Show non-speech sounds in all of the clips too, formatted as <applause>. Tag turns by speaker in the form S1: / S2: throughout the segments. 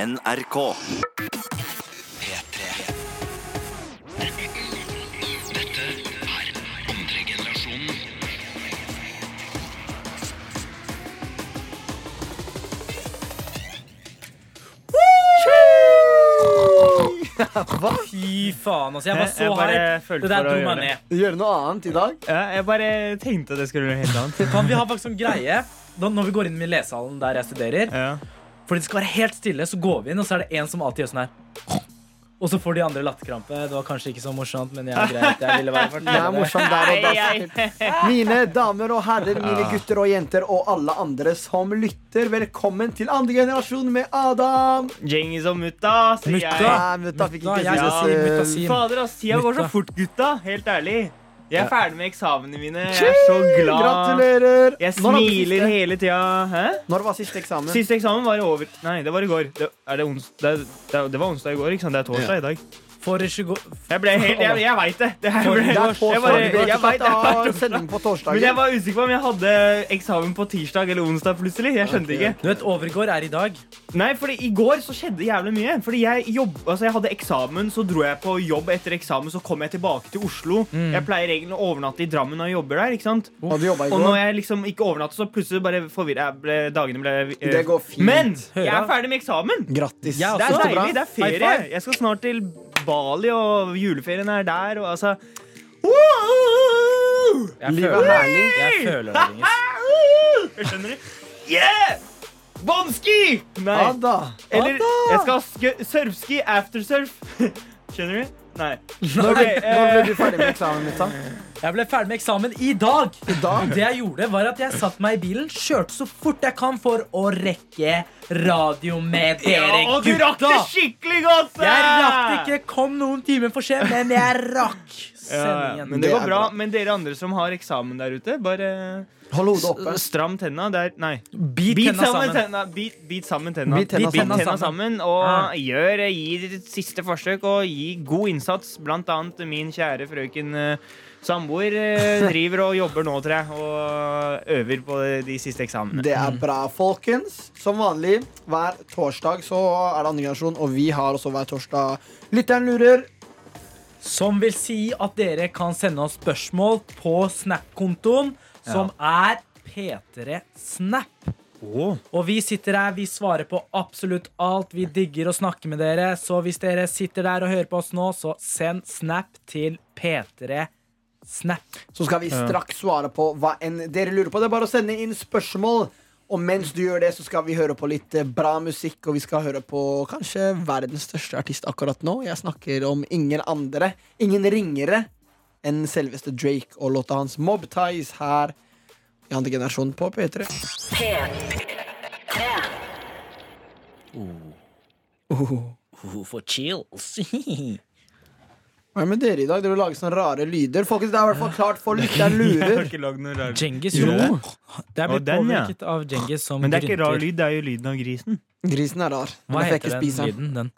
S1: NRK.
S2: Fy faen, altså. Jeg var så
S3: Jeg bare
S2: hype.
S3: følte
S2: Det der
S3: for å
S2: dro meg
S3: gjøre det.
S2: ned.
S4: Gjøre noe annet i dag?
S3: Ja, jeg bare tenkte det skulle bli helt
S4: <laughs>
S3: annet.
S2: Kan vi ha faktisk en greie da- når vi går inn i lesehallen der jeg studerer?
S3: Ja.
S2: Fordi det skal være helt stille, så går vi inn, og så er det en som alltid gjør sånn her. Og så får de andre latterkrampe. Det var kanskje ikke så morsomt, men jeg er greit. Jeg ville være
S4: Jeg er
S2: fortelle det.
S4: morsom der og da. Mine damer og herrer, mine gutter og jenter og alle andre som lytter, velkommen til andre generasjon med Adam.
S3: Gjengis og mutta, sier
S2: Mutta.
S3: jeg.
S4: Nei, mutta fikk
S2: Mutta,
S4: ikke
S2: jeg
S3: sier
S4: si det selv.
S2: Mutasin.
S3: Fader, ass, tida går så
S2: Mutta.
S3: fort, gutta. Helt ærlig. Jeg er
S4: Ja.
S3: ferdig med eksamene mine. Jeg er så glad.
S4: Gratulerer.
S3: Jeg
S4: Når var det
S3: smiler
S4: siste?
S3: hele tida. Hæ?
S4: Når var siste eksamen?
S3: Siste eksamen var over. Nei, det var i går. Det, er det, ons det, er- det, er- det var onsdag i går, ikke sant? Det er torsdag i dag.
S2: For 20
S3: Jeg ble helt Jeg, jeg veit det. det her ble,
S4: Det er
S3: jeg
S4: torsdag.
S3: bare,
S4: Vi går
S3: jeg vet,
S4: ikke
S3: det.
S4: av sending på
S3: Men jeg
S4: torsdager.
S3: var usikker på om jeg hadde eksamen på tirsdag eller onsdag plutselig. Jeg skjønte ikke.
S2: Du vet, Overgård er i dag.
S3: Nei, fordi i går så skjedde jævlig mye. Fordi jeg, jobb, altså jeg hadde eksamen, så dro jeg på jobb etter eksamen, så kom jeg tilbake til Oslo.
S2: Mm.
S3: Jeg pleier egentlig å overnatte i Drammen når jeg jobber der, ikke sant?
S4: Og du jobba i
S3: Og når
S4: går.
S3: jeg liksom ikke overnatter, så plutselig bare forvirrer jeg. Ble, dagene ble eh,
S4: Det går fint.
S3: Men
S2: Hører
S3: jeg er
S2: jeg.
S3: ferdig med eksamen!
S4: Grattis.
S2: Jeg også.
S3: Det er
S2: så bra.
S3: deilig. Det er ferie.
S2: High five.
S3: Jeg skal snart til Bali, og juleferien er der, og altså
S2: Jeg
S4: Livet er
S2: føler,
S4: herlig.
S2: jeg føler det, Ringis.
S3: <laughs> Jeg skjønner du? Yeah! Båndski! Nei.
S4: Ada.
S3: Eller
S4: Ada.
S3: jeg skal ha skø- surfski aftersurf. <laughs> Skjønner du? Nei.
S4: Når ble,
S3: Ok,
S4: når ble
S3: eh,
S4: du ferdig med eksamen, mutta?
S2: Jeg ble ferdig med eksamen i dag.
S4: I dag?
S2: Det jeg gjorde, var at jeg satt meg i bilen, kjørte så fort jeg kan for å rekke radio med dere
S3: Ja, og du rakk
S2: gutta.
S3: det skikkelig godt!
S2: Jeg rakk det ikke, kom noen timer for sent, men jeg rakk
S3: <laughs> Ja, ja, men
S2: sendingen.
S3: det
S4: Det
S3: går
S4: er
S3: bra.
S4: bra.
S3: Men dere andre som har eksamen der ute, bare
S4: Hold hodet
S3: eh,
S4: oppe.
S3: stram tenna. Det er Nei.
S2: Bit
S3: Bit
S2: tenna
S3: sammen
S2: sammen.
S3: tenna. Bit, bit sammen tenna.
S4: Bit tenna sammen.
S3: tenna sammen.
S2: Ja.
S3: Og gjør, eh, gi ditt siste forsøk, og gi god innsats. Blant annet min kjære frøken eh, samboer eh, driver og jobber nå, tror jeg, og øver på de siste eksamene.
S4: Det er bra, folkens. Som vanlig, hver torsdag så er det andre generasjon, og vi har også hver torsdag Lytteren lurer.
S2: Som vil si at dere kan sende oss spørsmål på Snap-kontoen, som er P3 Snap. Og vi sitter her, vi svarer på absolutt alt. Vi digger å snakke med dere. Så hvis dere sitter der og hører på oss nå, så send Snap til P3 Snap.
S4: Så skal vi straks svare på hva enn dere lurer på. Det er bare å sende inn spørsmål. Og mens du gjør det, så skal vi høre på litt eh, bra musikk, og vi skal høre på kanskje verdens største artist akkurat nå. Jeg snakker om ingen andre, ingen ringere enn selveste Drake og låta hans Mob Ties her i andre generasjon på P3. Oh.
S2: For chills.
S4: Hva er det med dere i dag? Dere lager sånne rare lyder. Folkens, det er i hvert fall klart for lytteren
S2: <laughs>
S4: lurer.
S3: ikke lagd noe rart.
S2: <laughs> Djengis
S3: Jo.
S2: gjorde det. Det er
S3: Og
S2: blitt
S3: den, ja.
S2: påvirket av Djengis som
S3: Men det er ikke rar
S2: grynter.
S3: lyd, det er jo lyden av grisen.
S4: Grisen er rar.
S2: Hva
S4: Men jeg får
S2: heter
S4: ikke
S2: den
S4: spise den.
S2: lyden? Den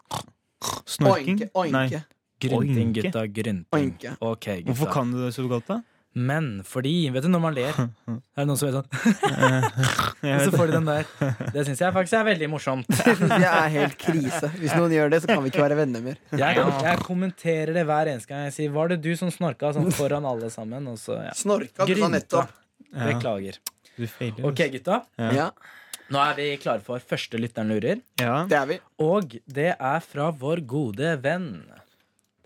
S3: Snorking?
S4: Oinke, oinke.
S2: grynting,
S3: Oinke?
S2: gutta, grynting.
S4: Oinke.
S2: Ok, gutta.
S3: Hvorfor kan du det så godt, da?
S2: Men fordi Vet du når man
S3: <laughs>
S2: ler? Er det noen som vet sånn? Og så får de den der. Det syns jeg faktisk er veldig morsomt.
S4: <laughs> Det synes jeg er helt krise. Hvis noen gjør det, så kan vi ikke være venner mer.
S2: Jeg, jeg kommenterer det hver eneste gang jeg sier 'Var det du som snorka?' sånn foran alle sammen. Og så, ja.
S4: Snorka du sa
S2: Grynta.
S4: nettopp.
S2: Beklager.
S3: Du feiler. altså.
S2: Ok, gutta.
S4: Ja,
S2: Nå er vi klare for første lytteren lurer.
S3: Ja.
S4: det er vi.
S2: Og det er fra vår gode venn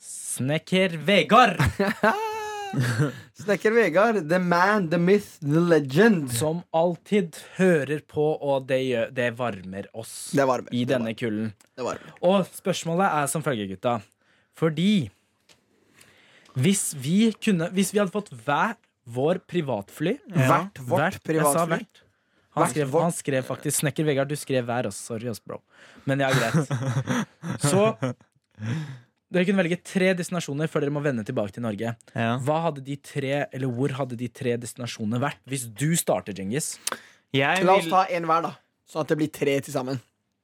S2: Snekker Vegard,
S4: Snekker Vegard, the man, the myth, the legend.
S2: som alltid hører på, og det, gjør, det varmer oss
S4: Det varmer.
S2: i denne kulden.
S4: Det varmer.
S2: Og spørsmålet er som følger, gutta. Fordi hvis vi kunne Hvis vi hadde fått hver vår privatfly
S4: Hvert vårt
S2: Hvert- jeg sa
S4: privatfly.
S2: hvert. Han
S4: Hvert
S2: skrev,
S4: vårt.
S2: han skrev faktisk Snekker Vegard, du skrev hver også. Sorry, ass, bro. Men ja,
S4: <laughs>
S2: greit. Så dere kunne velge tre destinasjoner før dere må vende tilbake til Norge.
S3: Ja.
S2: Hva hadde de tre, eller Hvor hadde de tre destinasjonene vært? Hvis du starter, Djengis.
S3: Jeg
S4: La oss
S3: vil
S4: ta en hver, da. Sånn at det blir tre til sammen.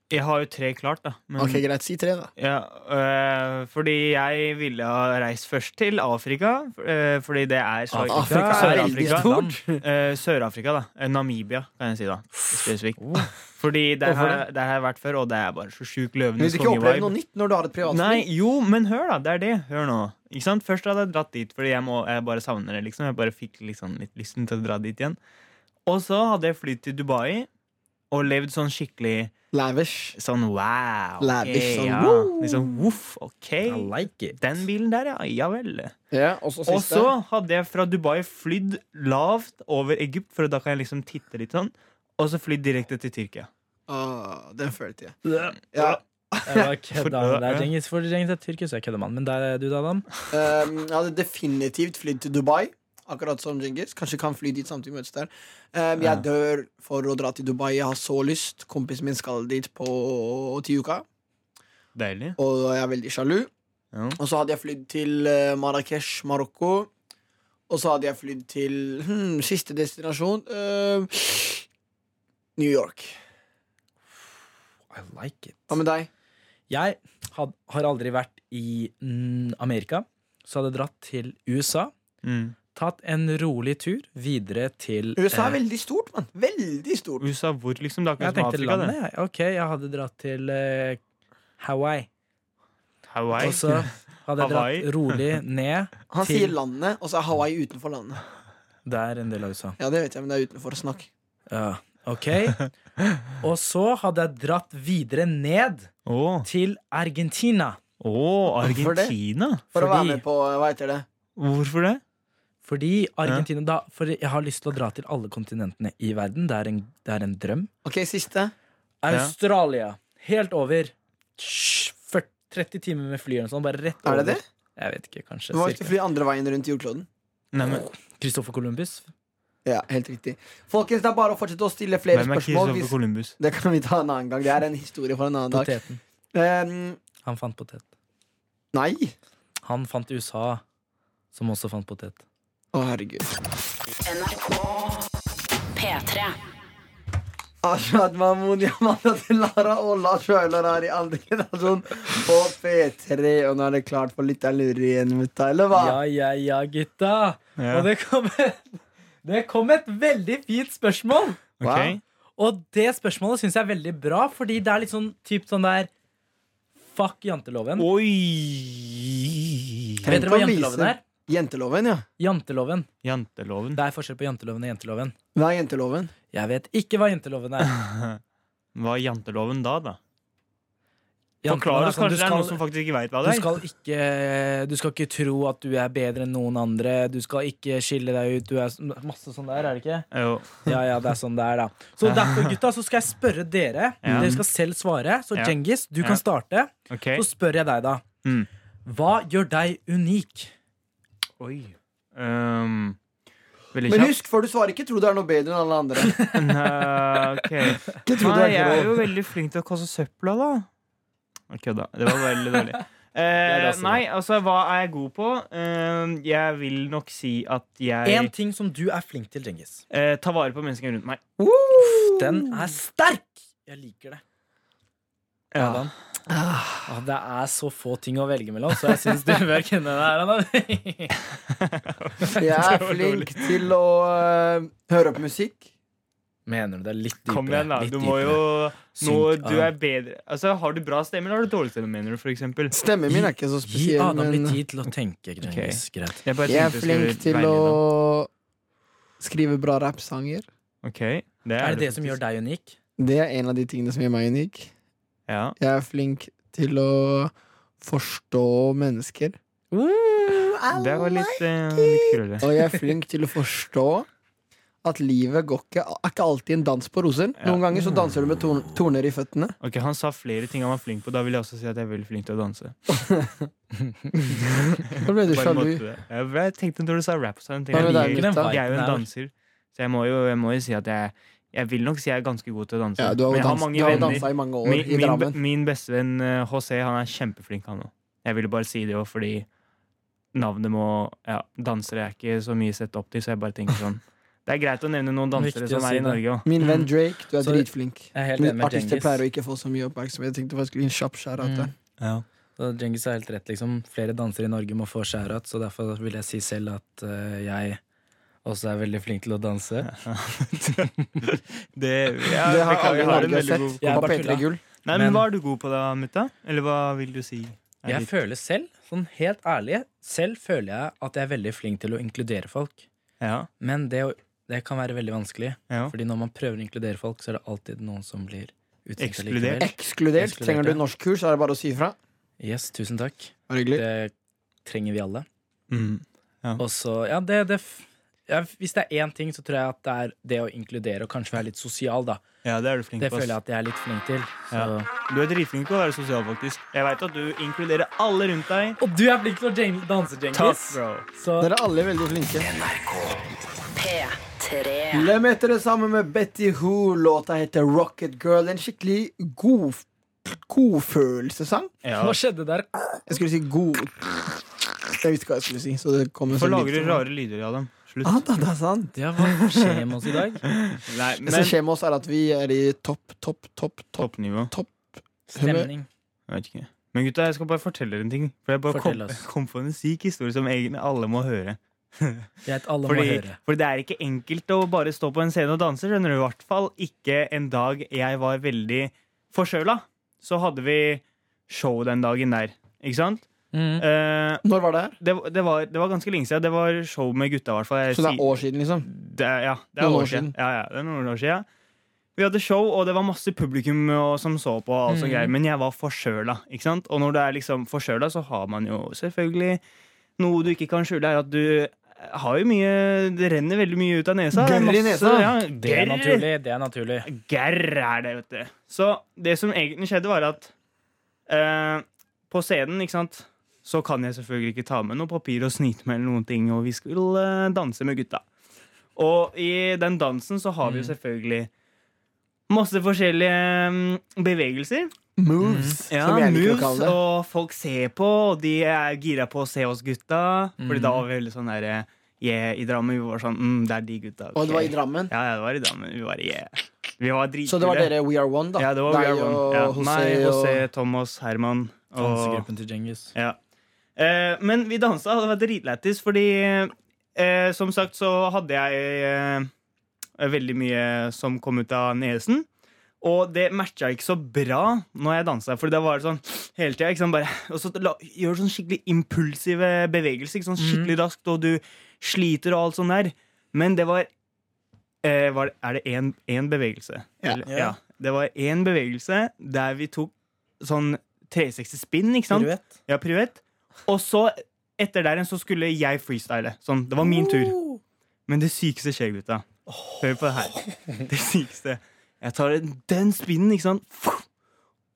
S3: Jeg har jo tre klart, da. Men,
S4: Ok, greit. Si tre, da.
S3: ja, øh, fordi jeg ville ha reist først til Afrika, øh, fordi det er så
S2: Afrika
S4: er veldig
S3: Sør-Afrika.
S4: stort.
S3: Eh, Sør-Afrika, da. Eh, Namibia, kan jeg si, da. Spesifikt. Fordi der
S2: Hvorfor
S3: har, der har jeg vært før, og det er bare så sjukt
S4: Men
S3: løvenes
S4: Vil du ikke oppleve noe
S3: kongevibe.
S4: nytt når du har et
S3: Nei,
S4: privatfly?
S3: jo, men hør, da. Det er det. Hør nå. Ikke sant? Først hadde jeg dratt dit fordi jeg, må, jeg bare savner det. liksom Jeg bare fikk liksom litt lysten til å dra dit igjen. Og så hadde jeg flydd til Dubai og levd sånn skikkelig
S4: Lavish.
S3: sånn wow. ok,
S4: Lavish, sånn,
S3: ja.
S4: woo.
S3: Liksom voff, ok.
S2: I like it.
S3: Den bilen der, ja. Ja vel.
S4: Ja, og så
S3: Og så hadde jeg fra Dubai flydd lavt over Egypt, for da kan jeg liksom titte litt sånn. Og så flydd direkte til Tyrkia.
S4: Åh, Ah, Den følte jeg.
S2: Jeg
S4: Ja.
S2: bare kødda med
S3: Ja.
S2: deg, Djengis. For Djengis er tyrker, så jeg kødder med han. Men der er du, da, Adam?
S4: Um, jeg hadde definitivt flydd til Dubai. Akkurat som Djengis. Kanskje kan fly dit samtidig møtes der. Um,
S3: Ja.
S4: jeg dør for å dra til Dubai. Jeg har så lyst. Kompisen min skal dit på til uka,
S3: Deilig.
S4: og jeg er veldig sjalu.
S3: Ja.
S4: Og så hadde jeg flydd til eh, Marrakech, Marokko. Og så hadde jeg flydd til hmm, siste destinasjon eh, New York.
S2: I like it.
S4: Hva med deg?
S2: Jeg had, har aldri vært i mm, Amerika, så hadde jeg dratt til USA.
S3: Mm.
S2: Tatt en rolig tur videre til
S4: USA
S2: eh,
S4: er veldig stort, mann. Veldig stort.
S3: USA, hvor liksom? Det
S2: Jeg
S3: er akkurat som
S2: tenkte
S3: Afrika,
S2: landet,
S3: det.
S2: jeg. Ok, jeg hadde dratt til eh, Hawaii.
S3: Hawaii.
S2: Og så hadde jeg
S3: Hawaii.
S2: dratt rolig ned
S4: Han
S2: til-
S4: sier landet, og så er Hawaii utenfor landet.
S2: der en del av USA.
S4: Ja, det vet jeg, men det er utenfor. Snakk.
S2: Ja, ok. Og så hadde jeg dratt videre ned
S3: Å,
S2: til Argentina.
S3: å,
S4: Hvorfor det?
S3: Argentina?
S4: For å være
S2: Fordi-
S4: med på eh, Hva heter det?
S3: Hvorfor det?
S2: Fordi Argentina da, For jeg har lyst til å dra til alle kontinentene i verden. Det er en, det er en drøm.
S4: OK, siste.
S2: Australia. Helt over. Sj, 40, 30 timer med fly eller noe sånt. Bare rett
S4: Er
S2: over.
S4: det det?
S2: Jeg vet ikke, kanskje.
S4: Du må ikke
S2: cirka.
S4: fly andre veien rundt jordkloden.
S3: Nei, men,
S2: Christopher Columbus.
S4: Ja, helt riktig. Folkens, det er bare å fortsette å stille flere
S3: hvem er
S4: spørsmål.
S3: Christopher
S4: Hvis,
S3: Columbus?
S4: det kan vi ta en annen gang. Det er en historie for en annen dag.
S2: Poteten.
S4: Um,
S2: Han fant potet.
S4: nei.
S2: Han fant USA, som også fant potet.
S4: Å, herregud.
S1: P3.
S4: Ashad Mahmoud, Yamada Delara og Lars Vaular er i andre generasjon på P3. Og nå er det klart for litt lurer igjen, mutta, eller hva?
S2: Ja, ja, ja, gutta.
S3: Ja.
S2: Og det kom, det kom et veldig fint spørsmål.
S3: Ok.
S2: Og det spørsmålet syns jeg er veldig bra, fordi det er litt sånn typ sånn der Fuck janteloven.
S3: Oi!
S2: Vet dere hva
S4: Tenk å vise-
S2: janteloven er?
S4: Jenteloven, ja.
S2: Janteloven.
S3: Janteloven.
S2: Det er forskjell på janteloven og jenteloven.
S4: Hva er jenteloven?
S2: Jeg vet ikke hva janteloven
S3: <laughs>
S2: er.
S3: Hva er janteloven da, da?
S2: Janteloven
S3: Forklar
S2: er
S3: oss,
S2: sånn,
S3: kanskje
S2: du
S3: det er
S2: skal-
S3: noen som faktisk ikke veit hva
S2: Du
S3: det er.
S2: skal, ikke, du skal ikke tro at du er bedre enn noen andre. Du skal ikke skille deg ut. Du er sånn- masse sånn der, er det ikke?
S3: Jo.
S2: Ja, ja, det er sånn det er, da. Så derfor, gutta, så skal jeg spørre dere.
S3: Ja.
S2: Dere skal selv svare. Så
S3: Ja.
S2: Djengis, du
S3: Ja.
S2: kan starte.
S3: Ok.
S2: Så spør jeg deg, da.
S3: Mm.
S2: Hva gjør deg unik?
S3: Oi. Um, veldig
S4: Men
S3: kjapt.
S4: husk, før du svarer, ikke tro du er noe bedre enn <laughs> alle andre.
S3: Nei, <laughs> ok.
S4: Ikke tro du
S3: Nei,
S4: er
S3: jeg er
S4: grov.
S3: jo veldig flink til å kaste søpla, da. Ok, da. Det var veldig
S2: <laughs>
S3: dårlig. Eh,
S2: Det er også
S3: nei, altså, hva er jeg god på? Eh, jeg vil nok si at jeg
S2: Én ting som du er flink til, Djengis.
S3: eh, tar vare på menneskene rundt meg.
S2: Den er sterk! Jeg liker det.
S3: Ja.
S2: Adam. Ah, det er så få ting å velge mellom, så jeg
S3: <laughs>
S2: syns du bør kunne det her. Adam. <laughs>
S4: Jeg
S3: Det
S4: <laughs> er
S3: var
S4: flink til å øh, høre på musikk.
S2: Mener du det er litt dypere?
S3: Kom igjen, da.
S2: litt
S3: Du må jo
S2: dypere.
S3: Nå,
S2: Synk,
S3: du
S2: Adam.
S3: er bedre Altså, Har du bra stemme, eller har du dårlig stemme, mener du, for eksempel?
S4: Stemmen min er ikke så
S2: Gi
S4: spesiell,
S2: Adam litt
S4: men
S2: tid til å tenke. Djengis. Greit.
S3: Jeg, bare
S4: jeg
S3: tenkte
S4: er
S3: jeg skulle
S4: flink til
S3: regne
S4: å
S3: gjennom.
S4: skrive bra rappsanger.
S3: Ok, det er,
S2: Er det det som gjør deg unik?
S4: Det er en av de tingene som gjør meg unik.
S3: Ja.
S4: Jeg er flink til å forstå mennesker.
S3: Det var litt, eh, litt krøllete.
S4: Og jeg
S3: <laughs>
S4: er flink til å forstå at livet går ikke, er ikke alltid en dans på roser.
S3: Ja.
S4: Noen ganger så danser du med torn, torner i føttene.
S3: Ok, Han sa flere ting han var flink på. Da vil jeg også si at jeg er veldig flink til å danse.
S4: Da ble du
S3: Bare
S4: sjalu.
S3: måtte det. Jeg, jeg tenkte når du sa rap, så tenkte
S4: Hva
S3: jeg,
S4: med deg,
S3: jeg,
S2: den
S4: gutta?
S2: viben
S3: jeg er jo en
S2: her.
S3: danser, så jeg må jo, jeg må jo si at jeg Jeg vil nok si jeg er ganske god til å danse.
S4: Ja, du har
S3: Men
S4: jo
S3: jeg har mange
S4: dans, du har jo
S3: venner.
S4: dansa i mange år
S3: Min,
S4: i
S3: min, be-
S4: Drammen.
S3: min bestevenn eh, José, han er kjempeflink, han òg. Jeg ville bare si det òg, fordi
S4: <laughs>
S3: navnet må Ja, dansere er ikke så mye sett opp til, så jeg bare tenker sånn Det er greit å nevne noen dansere
S2: Viktig å
S3: som
S2: si
S3: er i
S2: det.
S3: Norge òg.
S4: Min venn
S2: Mm.
S4: Drake, du er
S2: Så-
S4: dritflink.
S2: Jeg er helt enig
S4: Men
S2: med
S4: artister
S2: Djengis.
S4: pleier å ikke få så mye oppmerksomhet. Jeg tenkte faktisk å gi en kjapp skjæra
S2: Mm.
S4: til
S2: Så Djengis har helt rett, liksom. Flere dansere i Norge må få skjærat, så derfor vil jeg si selv at eh, jeg også er veldig flink til å danse.
S3: <laughs> <laughs> Det, ja,
S4: Det har
S3: beklager, jeg
S4: alle i
S3: har en
S4: Norge
S3: veldig
S4: sett.
S3: god-
S2: Jeg er
S4: På
S2: bare
S4: P3 Gull.
S3: Nei, men
S2: Men-
S3: Hva er du god på da, mutta? Eller hva vil du si? er
S2: Jeg
S3: ditt-
S2: føler selv, sånn helt ærlig, selv føler jeg at jeg er veldig flink til å inkludere folk.
S3: ja,
S2: Men det, å- det kan være veldig vanskelig,
S3: ja.
S2: Fordi når man prøver å inkludere folk, så er det alltid noen som blir utenfor
S3: Ekskludert.
S2: likevel.
S4: Ekskludert.
S2: Ekskludert,
S4: Trenger du
S2: ja.
S4: norskkurs, er det bare å si ifra.
S2: Yes, tusen takk.
S4: Var det hyggelig?
S2: Det trenger vi alle.
S3: Mm.
S2: Og så, ja, det, det f- ja, Hvis det er én ting, så tror jeg at det er det å inkludere og kanskje være litt sosial, da.
S3: ja, det er du flink
S2: Det
S3: på. ass.
S2: føler jeg at jeg er litt flink til. Så.
S3: Ja. Du er dritflink til å være sosial, faktisk. Jeg veit at du inkluderer alle rundt deg.
S2: Og du er flink til å jeng- danse,
S3: Takk,
S2: Djengis.
S3: bro.
S2: Så
S4: Dere er alle veldig flinke.
S1: P3.
S4: Lem etter det sammen med Betty Who. Låta heter Rocket Girl. En skikkelig god godfølelsessang.
S3: Ja.
S2: hva skjedde der?
S4: Jeg skulle si god Jeg visste ikke hva jeg skulle si. Så det kom en
S3: Hvorfor
S4: sånn
S3: lager
S4: lyd
S3: du
S4: som-
S3: rare lyder av dem? Slutt.
S4: Ah, da, det er sant.
S2: Ja, hva skjer med oss i dag?
S3: <laughs> Nei,
S4: Det som
S3: men
S4: skjer med oss, er at vi er i topp, topp, topp, topp.
S3: Toppnivå.
S2: Stemning.
S3: Jeg vet ikke. Men gutta, jeg skal bare fortelle dere en ting. For jeg bare kom,
S2: Fortell oss.
S3: <laughs> kom på en syk historie som egentlig alle må høre.
S2: Greit, alle må
S3: Fordi,
S2: høre.
S3: fordi det er ikke enkelt å bare stå på en scene og danse. Skjønner du? I hvert fall ikke en dag jeg var veldig forkjøla. Så hadde vi show den dagen der. Ikke sant?
S2: Mm.
S3: Eh,
S4: Når var det her?
S3: det, det, var, det var ganske lenge siden. Det var show med gutta, i hvert fall. Jeg
S4: Så det
S3: sier-
S4: er år siden, liksom?
S3: det, er- ja, det er
S4: Noen
S3: noen
S4: år
S3: år siden. Ja, ja, det er noen år siden. Vi hadde show, og det var masse publikum og, som så på, og alt sånt
S4: Mm.
S2: Mhm.
S3: greier, men jeg var forkjøla. ikke sant? Og når du er liksom forkjøla, så har man jo selvfølgelig Noe du ikke kan skjule, er at du har jo mye Det renner veldig mye ut av nesa. Det er
S4: Gørr i
S3: masse-
S4: nesa.
S3: Ja,
S2: Det er
S3: gørr.
S2: naturlig. Det er naturlig.
S3: Gærr er det, vet du. Så det som egentlig skjedde, var at eh, på scenen, ikke sant, så kan jeg selvfølgelig ikke ta med noe papir og snyte med eller noen ting, og vi skulle eh, danse med gutta. Og i den dansen så har vi jo
S2: Mm.
S3: selvfølgelig masse forskjellige mm, bevegelser.
S4: Moves,
S3: Ja,
S4: som jeg liker å
S3: moves,
S4: kalle det.
S3: og folk ser på, og de er gira på å se oss gutta. Fordi
S2: Mm.
S3: da var vi veldig sånn derre yeah, I Drammen vi var sånn mm, Det er de gutta.
S4: Og det var i
S3: ok.
S4: Drammen.
S3: Ja, ja, det var i Drammen. Vi var, yeah. vi var dritkule.
S4: Så det var dere We Are One, da?
S3: Ja, det var
S4: Deg
S3: We Are One.
S4: og
S3: Ja.
S4: Jose
S3: Meg,
S4: og- <laughs>
S3: José, Thomas, Herman og
S2: Dansegruppen til Djengis.
S3: ja. eh, Men vi dansa, og det var dritlættis, fordi eh, som sagt så hadde jeg eh, veldig mye som kom ut av nesen. Og det matcha ikke så bra når jeg dansa. For da var det sånn hele tida. Ikke sant? Bare, og så la, gjør du sånn skikkelig impulsive bevegelser. Ikke sånn skikkelig
S4: Mhm.
S3: raskt, og du sliter og alt sånn der. Men det var, eh, var det- Er det én- én bevegelse?
S4: Ja.
S3: Eller- ja. Det var én bevegelse der vi tok sånn 360 spinn, ikke sant?
S2: Piruett.
S3: Ja, piruett. Og så, etter der igjen, så skulle jeg freestyle. Sånn, det var min tur. Men det sykeste skjer, gutta. Hør på det her. Det sykeste. Jeg tar den spinnen, ikke sant.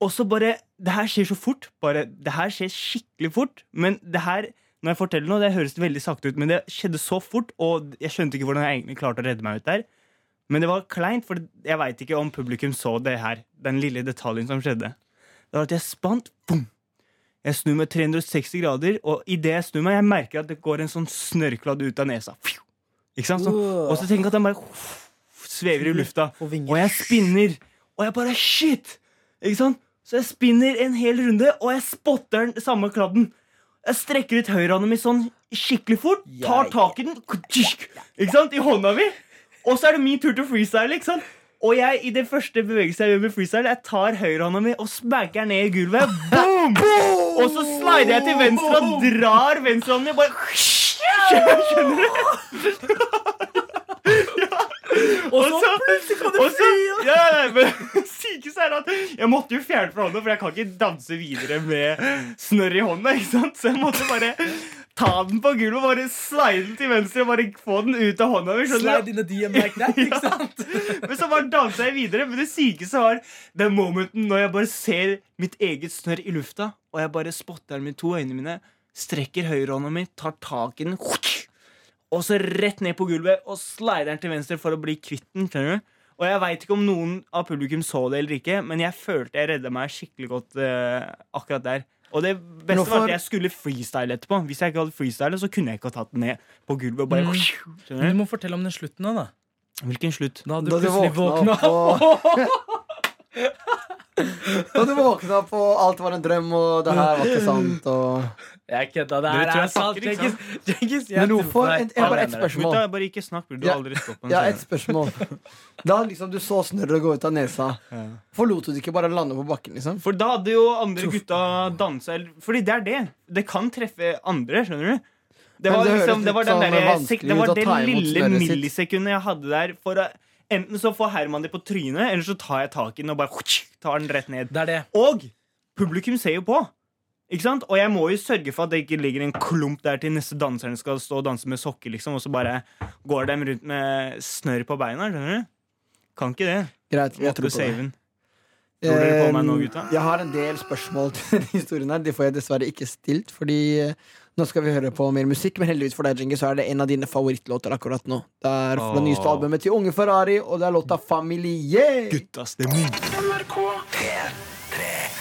S3: Og så bare Det her skjer så fort. Bare, det her skjer skikkelig fort. Men det her Når jeg forteller noe, det høres veldig sakte ut, men det skjedde så fort, og jeg skjønte ikke hvordan jeg egentlig klarte å redde meg ut der. Men det var kleint, for jeg veit ikke om publikum så det her. Den lille detaljen som skjedde. Det var at jeg spant. Boom! Jeg snur meg 360 grader, og idet jeg snur meg, jeg merker at det går en sånn snørkladd ut av nesa. Fju! Ikke sant? Sånn. Og så tenker jeg at den bare svever i lufta.
S2: Og vinger.
S3: Og jeg spinner. Og jeg bare Shit! Ikke sant? Så jeg spinner en hel runde, og jeg spotter den samme kladden. Jeg strekker ut høyrehånda mi sånn skikkelig fort, tar tak i den Ikke sant? i hånda mi. Og så er det min tur til å freestyle. ikke sant? Og jeg, i det første bevegelsen jeg gjør med freestyle, jeg tar høyrehånda mi og smaker ned i gulvet. Boom! Og så slider jeg til venstre og drar venstrehånden min bare <laughs> Skjønner du? Og så plutselig kan du fly! Ja, ja, men <laughs> sykeste er at jeg måtte jo fjerne fra hånda, for jeg kan ikke danse videre med snørr i hånda. ikke sant? Så jeg måtte bare ta den på gulvet, bare slide den til venstre og bare få den ut av hånda mi. skjønner
S2: Slide
S3: du?
S2: in a DM like that, ikke sant?
S3: Men så bare dansa jeg videre. Men det sykeste var den momenten når jeg bare ser mitt eget snørr i lufta, og jeg bare spotter den med to øynene mine, strekker høyrehånda mi, tar tak i den, og så rett ned på gulvet og slider den til venstre for å bli kvitt den. skjønner du? Og jeg veit ikke om noen av publikum så det eller ikke, men jeg følte jeg redda meg skikkelig godt eh, akkurat der. Og det beste var
S4: Hvorfor-
S3: at jeg skulle freestyle etterpå. Hvis jeg ikke hadde freestyle, så kunne jeg ikke ha tatt den ned på gulvet. og bare...
S2: Mm. Du
S3: Skjønner du?
S2: må fortelle om den slutten nå, da.
S3: Hvilken slutt?
S2: Da du
S4: Da du
S2: plutselig
S4: våkna
S2: våkna
S4: opp
S2: opp.
S4: Da du våkna på alt var en drøm, og det her var <laughs> ikke sant, og
S2: <laughs> Jeg kødda. Det
S3: Dere
S2: her
S3: tror
S2: er
S3: jeg
S2: sant.
S3: snakker, ikke
S2: Cengiz. Cengiz, jeg
S4: Men
S2: tror
S4: hvorfor?
S2: på deg.
S4: En- jeg har bare
S2: Ja,
S4: ett
S2: mener det.
S4: spørsmål.
S3: Gutta, bare ikke snakk, bror. Du
S4: Ja.
S3: har aldri stått på en
S4: Ja,
S3: scene.
S4: et spørsmål.
S3: <laughs>
S4: Da liksom du så snørret gå ut av nesa,
S3: Ja.
S4: forlot du det ikke bare å lande på bakken, liksom?
S3: For da hadde jo andre gutta dansa eller- Fordi det er det. Det kan treffe andre, skjønner du? Det
S4: Men
S3: var,
S4: det høres
S3: liksom, det var,
S4: litt
S3: den
S4: sånn
S3: derre
S4: vanskelig
S3: sek- det, var
S4: ut å
S3: det
S4: ta imot
S3: lille
S4: snørret sitt.
S3: millisekundet jeg hadde der for å Enten så får Herman det på trynet, eller så tar jeg tak i den og bare tar den rett ned.
S2: Det er det.
S3: Og publikum ser jo på. Ikke sant? Og jeg må jo sørge for at det ikke ligger en klump der til neste danserne skal stå og danse med sokker, liksom, og så bare går dem rundt med snørr på beina. Skjønner du? Kan ikke det.
S4: Greit, jeg
S3: Måtte
S4: tror på det.
S3: save den. Tror dere på meg nå,
S4: Eh,
S3: gutta?
S4: Jeg har en del spørsmål til denne historien her. De får jeg dessverre ikke stilt, fordi eh, nå skal vi høre på mer musikk. Men heldigvis for deg, Djengis, så er det en av dine favorittlåter akkurat nå. Det er fra det nyeste
S3: Åh.
S4: albumet til Unge Ferrari, og det er låta Familie.
S3: Guttastemning.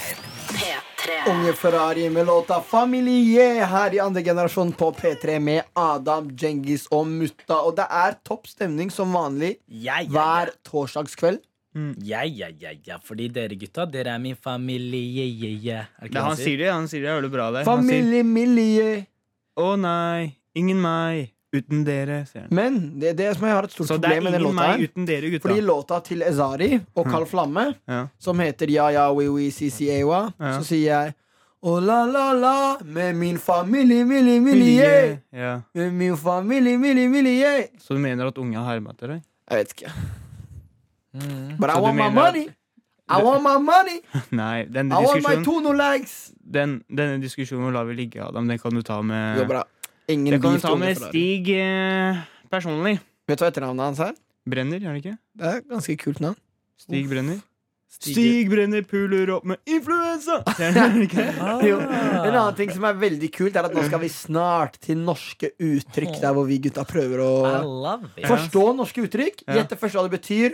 S1: P3.
S4: Unge Ferrari med låta Familie her i andre generasjon på P3 med Adam, Djengis og Mutta. Og det er topp stemning som vanlig
S2: Ja, ja, ja.
S4: hver torsdagskveld.
S3: Mm.
S2: Ja, ja, ja, ja. Fordi dere gutta, dere er min familie. Ja, ja. Er det
S3: Det,
S2: ikke
S3: han sier det, han sier det jeg hører det bra der. Han sier
S4: Familiemilie.
S3: 'Å nei, ingen meg uten dere', sier han.
S4: Men det, det er som jeg har et Mm. stort
S3: Så det er
S4: problem med den
S3: ingen
S4: låta
S3: meg
S4: her.
S3: uten dere, gutta.
S4: Fordi låta til Ezari og Kald Flamme,
S3: Ja.
S4: som heter Ja ja we we CCAWA,
S3: Ja.
S4: så sier jeg Å la la la med min familie, milli, milli, yeah.
S3: Familie. Ja.
S4: Med min familie, milli, milli, yeah.
S3: Så du mener at unge har herma etter deg?
S4: Jeg vet ikke. But I
S3: Mm. Så du
S4: want my
S3: mener at-
S4: money! I want my money!
S3: <laughs> Nei,
S4: I
S3: denne
S4: want my
S3: diskusjonen,
S4: tono likes!
S3: den, denne diskusjonen lar vi ligge, Adam. Den kan du ta med
S4: Det går bra. Ingen
S3: Det kan du
S4: beef
S3: ta
S4: til Unge
S3: med
S4: Ferrari.
S3: Stig eh, personlig.
S4: Vet du hva etternavnet hans er?
S3: Brenner, er det ikke?
S4: Det er et ganske kult navn.
S3: Stig Brenner.
S2: Stig-
S3: <laughs> Brenner puler opp med influensa! Er det ikke det?
S2: Ah.
S4: <laughs> Jo. En annen ting som er veldig kult, er at nå skal vi snart til norske
S3: Oh.
S4: uttrykk, der hvor vi gutta prøver å
S2: I love it.
S4: Forstå norske uttrykk,
S3: Ja.
S4: gjette først hva det betyr,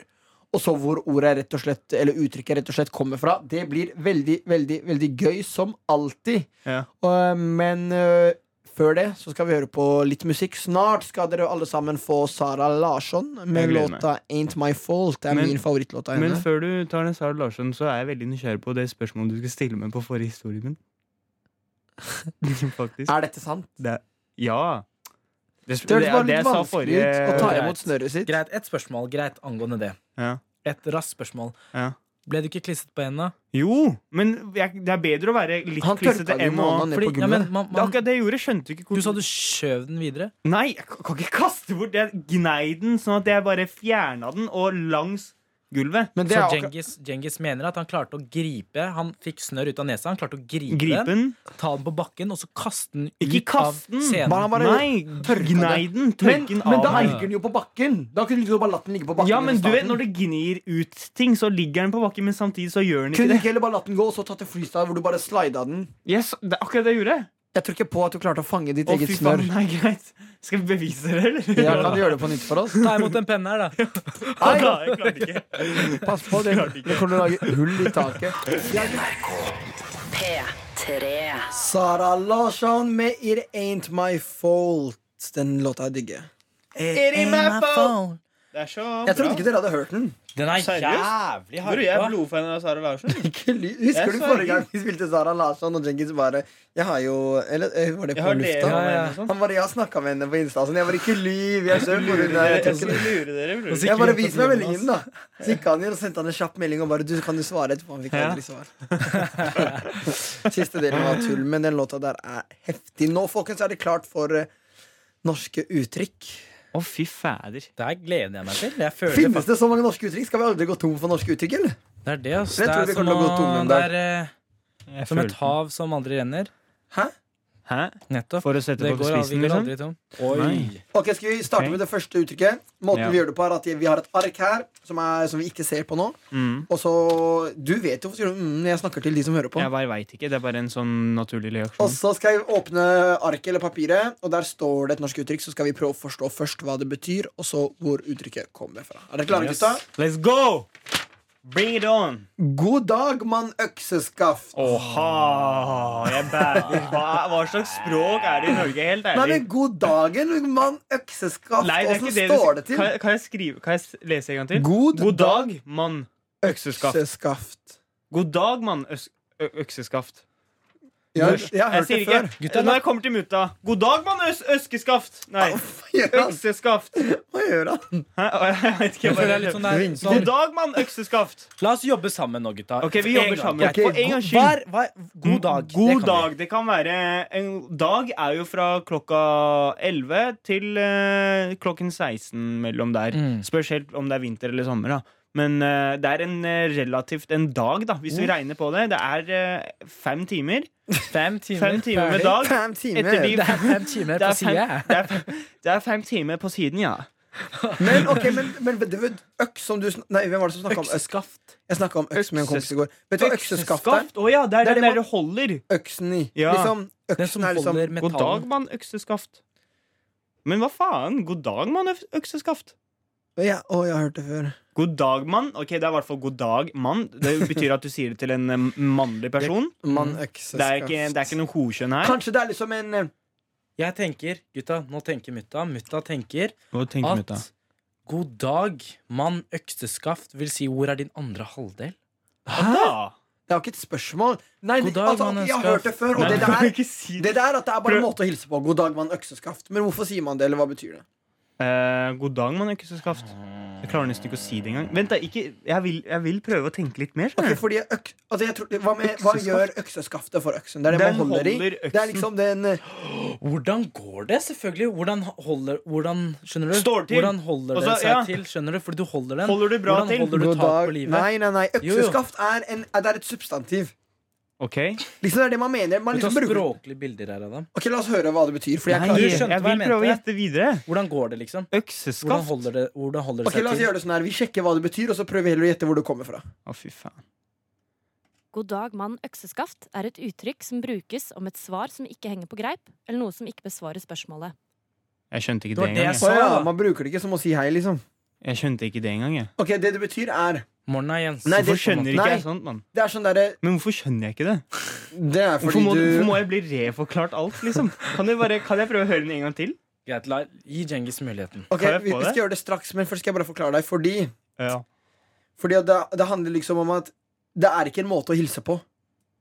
S4: og så hvor ordet rett og slett, eller uttrykket rett og slett kommer fra. Det blir veldig, veldig, veldig gøy, som alltid.
S3: Ja.
S4: Og, men øh, før det så skal vi høre på litt musikk. Snart skal dere alle sammen få Sara Larsson med
S3: Jeg gleder
S4: låta 'Ain't My Fault'. Det er
S3: Men-
S4: min favorittlåt av
S3: Men
S4: henne.
S3: før du tar den Sara Larsson, så er jeg veldig nysgjerrig på det spørsmålet du skal stille meg på forrige
S4: <laughs>
S3: historien min. Faktisk.
S4: Er dette sant?
S3: Det, ja. Det,
S4: Det høres
S3: er
S4: bare
S3: det
S4: litt
S3: jeg sa
S4: vanskelig
S3: forrige
S4: ut å ta
S2: Greit.
S4: imot snøret sitt.
S2: Greit, et spørsmål greit angående det.
S3: ja.
S2: Et raskt spørsmål.
S3: Ja.
S2: Ble du ikke klisset på hendene?
S3: Jo, men jeg, det er bedre å være litt
S4: Han
S3: klissete
S4: tørka jo
S3: enn å
S4: måneden ned på
S2: Fordi- ja, men
S4: gulvet.
S2: man,
S3: Det er
S2: man,
S3: akkurat det jeg gjorde. Skjønte
S2: du
S3: ikke hvor
S2: sa du skjøv den videre.
S3: Nei, jeg kan kan ikke kaste bort det. Gnei den sånn at jeg bare fjerna den, og langs gulvet.
S4: Men det
S2: Så
S4: er akkurat-
S2: Genghis, Genghis mener at han klarte å gripe Han fikk snørr ut av nesa. Han klarte å gripe, den,
S3: Gripe den.
S2: ta den på bakken og så kaste den ut
S3: Ikke kaste
S2: av
S3: den!
S2: scenen.
S4: Bare- bare
S3: Nei,
S4: tørka det.
S3: gnei den.
S4: Men,
S3: Tørk den
S4: men
S3: av
S4: da
S3: meg.
S4: ligger den jo på bakken. Da kunne du liksom bare latt den ligge på bakken.
S3: Ja, men
S4: under
S3: du vet, Når
S4: staten.
S3: det gnir ut ting, så ligger den på bakken, men samtidig så gjør den ikke
S4: Kunne du
S3: det.
S4: ikke heller bare latt den gå og så tatt en freestyle hvor du bare slida den?
S3: Yes, det er akkurat det jeg gjorde.
S4: Jeg tror ikke på at du klarte å fange ditt
S3: Å,
S4: eget
S3: fy
S4: snørr.
S3: faen, nei, greit. Skal vi bevise det, eller?
S4: Ja, kan du gjøre det på nytt <laughs> for oss?
S2: Ta imot en penne her, da.
S3: <laughs> Nei, jeg klarte
S4: <laughs>
S3: ikke.
S4: Pass på, det
S3: Klarte ikke.
S4: Nå kommer du å lage hull i taket.
S1: P3.
S4: Sara Larsson med It Ain't My Fault. Den låta er digge.
S3: Det er så
S4: Jeg trodde ikke dere hadde hørt den.
S2: Den er
S3: Seriøst?
S2: jævlig
S3: Bror, jeg er
S2: harpa.
S3: blodfan av Sara Larsen.
S4: Ikke ly- Husker
S3: Jeg
S4: du
S3: så
S4: forrige
S3: ikke.
S4: gang vi spilte Sara Larsson og Jenkins bare Jeg har jo Eller eh, var det
S3: Jeg
S4: på
S3: har dere
S4: lufta?
S2: ja, ja.
S3: med sånn.
S4: Han bare Jeg har snakka med henne på Insta. Sånn. Jeg bare Ikke lyv! Jeg ser hvor hun er. Jeg tør ikke det.
S3: lurer dere, bror.
S4: Jeg bare vis meg meldingen, da. Så gikk han igjen og sendte han en kjapp melding og bare du, 'Kan du svare?' etterpå. Han fikk
S3: Ja.
S4: aldri svar. <laughs> Siste delen var tull, men den låta der er heftig. Nå folkens, er det klart for eh, norske uttrykk.
S3: <laughs> Å, fy fader.
S2: Det her gleder jeg meg til. Jeg føler
S4: Finnes det så mange norske uttrykk? Skal vi aldri gå tom for norske uttrykk, eller?
S2: fakt- Det er det, ass.
S4: Jeg
S2: Det
S4: tror
S2: er
S4: vi
S2: som,
S4: kommer til å gå tom
S2: å,
S4: en
S2: det
S4: dag.
S2: er eh, som et hav som aldri renner.
S3: Hæ?
S2: Nettopp.
S3: For å sette
S2: Det
S3: på
S2: går aldri,
S3: spissen,
S2: går
S3: liksom?
S2: aldri tom.
S3: Nei.
S4: Ok, Skal vi starte
S3: Ok.
S4: med det første uttrykket? Måten
S3: Ja.
S4: Vi gjør det på er at vi har et ark her som, er, som vi ikke ser på nå.
S3: Mm.
S4: Og så Du vet jo, sier du, mm, jeg snakker til de som hører på.
S3: Jeg bare veit ikke. Det er bare en sånn naturlig
S4: Og
S3: reaksjon.
S4: så skal jeg åpne arket eller papiret, og der står det et norsk uttrykk. Så skal vi prøve å forstå først hva det betyr, og så hvor uttrykket kommer fra. Er dere klare,
S2: Yes.
S4: gutta?
S3: Let's go! Bring it on!
S4: God dag, mann økseskaft.
S3: Åha! Jeg bærer. Hva, hva slags språk er det i Norge? Helt
S4: Nei,
S3: ærlig.
S4: men god dagen, mann økseskaft.
S3: Nei, det er
S4: Åssen
S3: ikke det du
S4: står det til?
S3: Kan, kan, jeg skrive, kan jeg s- lese en gang til?
S4: God
S3: dag, mann økseskaft.
S4: Økseskaft.
S3: God dag, mann øs- ø- økseskaft.
S4: Ja,
S3: Norsk.
S4: jeg har hørt det
S3: sier
S4: før.
S3: ikke Når jeg kommer til mutta God dag, mann øs øskeskaft! Nei,
S4: <laughs> Hva gjør han?
S3: økseskaft.
S4: Hva gjør han?
S3: Hæ? Jeg vet
S2: Jeg
S3: ikke. Jeg
S2: føler det er
S3: bare
S2: litt sånn der,
S3: God
S2: sånn,
S3: dag, mann økseskaft!
S2: la oss jobbe sammen nå, gutta.
S3: Ok, vi
S2: En
S3: jobber
S2: gang.
S3: sammen.
S2: Greit.
S3: For en gangs skyld.
S2: Hver, hver, god dag.
S3: God
S2: det kan vi.
S3: dag. Det kan være En dag er jo fra klokka 11 til eh, klokken 16 mellom der.
S2: Mm.
S3: Spørs helt om det er vinter eller sommer, da. Men eh, det er en eh, relativt en dag, da, hvis vi regner på det. Det er eh, fem timer.
S2: Fem timer,
S3: Fem timer med
S2: ferdig.
S3: dag.
S4: Fem
S3: Etter
S4: timer.
S3: de-
S2: Det er fem timer
S3: Det
S2: på
S3: er fem,
S2: sida.
S3: det er fem, det er fem timer på siden, ja.
S4: Men ok, men, men det var øks som du sn- Nei, hvem var det som
S3: liksom-
S4: snakka om øks?
S2: Økseskaft.
S4: Jeg snakka om øks med en kompis i går. Vet du hva økseskaft er?
S3: Å ja, det er
S4: Det er
S3: den
S4: det man-
S3: der det holder.
S4: Øksen i.
S3: Ja.
S4: Liksom,
S2: Den som
S4: øksen er liksom
S2: holder
S3: God dag,
S2: metallen.
S3: mann, økseskaft. Men hva faen? God dag, mann, øf- økseskaft.
S4: ja, Å, jeg har hørt det før.
S3: God dag, mann. Ok, det er i hvert fall god dag, mann. Det betyr at du sier det til en eh, mannlig person.
S4: Mann
S3: Det er ikke, det er
S4: økseskaft.
S3: ikke noe hokjønn her.
S4: Mm. Kanskje det er liksom en eh,
S2: Jeg tenker, gutta, nå tenker mutta. Mutta tenker
S3: Hva tenker
S2: at god dag, mann økseskaft, vil si hvor er din andre halvdel?
S3: Hæ?
S4: Det er jo ikke et spørsmål. Nei,
S2: God
S4: det-
S2: dag,
S4: altså,
S2: mann
S4: jeg har
S2: økseskaft.
S4: hørt det før, og
S3: Nei,
S4: det
S3: du kan
S4: der
S3: ikke si det.
S4: det der at det er bare en
S3: Prøv.
S4: måte å hilse på. God dag, mann økseskaft. Men hvorfor sier man det, eller hva betyr det?
S3: Eh, god dag, mann, økseskaft. Jeg klarer nesten ikke å si det engang. Vent, da. Ikke, jeg, vil, jeg vil prøve å tenke litt mer.
S4: Ok,
S3: skjønner du.
S4: fordi øk, altså jeg tror, hva, med, hva gjør økseskaftet for øksen? Det er det
S3: Den
S4: man holder i.
S3: holder
S4: Det er
S3: øksen.
S4: liksom den eh,
S2: Hvordan går det, selvfølgelig? Hvordan holder hvordan, Skjønner du?
S3: Står til.
S2: Hvordan holder
S3: Altså,
S2: det seg
S3: ja.
S2: til? Skjønner du? Fordi du holder den.
S3: Holder du bra
S2: hvordan
S3: til?
S2: holder du
S4: God
S2: tak
S4: dag-
S2: på livet?
S4: Nei, nei, nei.
S2: Jo, jo.
S4: Økseskaft er, en, er- det er et substantiv.
S3: Ok
S4: Liksom Det er det man mener.
S2: Du
S4: Man liksom
S2: tar
S4: bruker,
S2: språklige bilder her, Adam.
S4: ok, La oss høre hva det betyr. Fordi jeg
S3: Nei,
S4: klarer
S2: du
S3: jeg,
S4: ikke.
S2: skjønte hva jeg
S3: vil prøve å
S2: mente.
S3: gjette videre.
S2: Hvordan går det, liksom? Hvordan
S3: Økseskaft.
S2: holder det, hvordan holder det
S4: Ok, La oss
S2: seg til?
S4: gjøre det sånn her Vi sjekker hva det betyr, og så prøver vi heller å gjette hvor det kommer fra.
S3: Å, fy faen.
S5: God dag, mann økseskaft er et uttrykk som brukes om et svar som ikke henger på greip, eller noe som ikke besvarer spørsmålet.
S3: Jeg skjønte ikke
S2: Det var
S3: det
S2: det jeg
S3: engang. jeg.
S2: sa.
S4: Å ja, Man bruker det ikke som å si hei, liksom.
S3: Jeg skjønte ikke det engang. jeg.
S4: Ok, Det det betyr, er
S2: Morna, Jens.
S4: Nei, det-
S3: Hvorfor skjønner ikke
S4: Nei.
S3: jeg sånt, mann?
S4: Det er sånn derre
S3: Men hvorfor skjønner jeg ikke det?
S4: Det er
S3: Hvorfor
S4: fordi
S3: må, hvorfor
S4: du
S3: må jeg bli reforklart alt, liksom? Kan, du bare, kan jeg prøve å høre den en gang til?
S2: Greit, la, gi Djengis muligheten.
S4: Ok,
S3: Kan jeg
S4: vi,
S3: få
S4: vi
S3: det?
S4: skal gjøre det straks, men først skal jeg bare forklare deg. Fordi,
S3: Ja.
S4: fordi at det, det handler liksom om at det er ikke en måte å hilse på.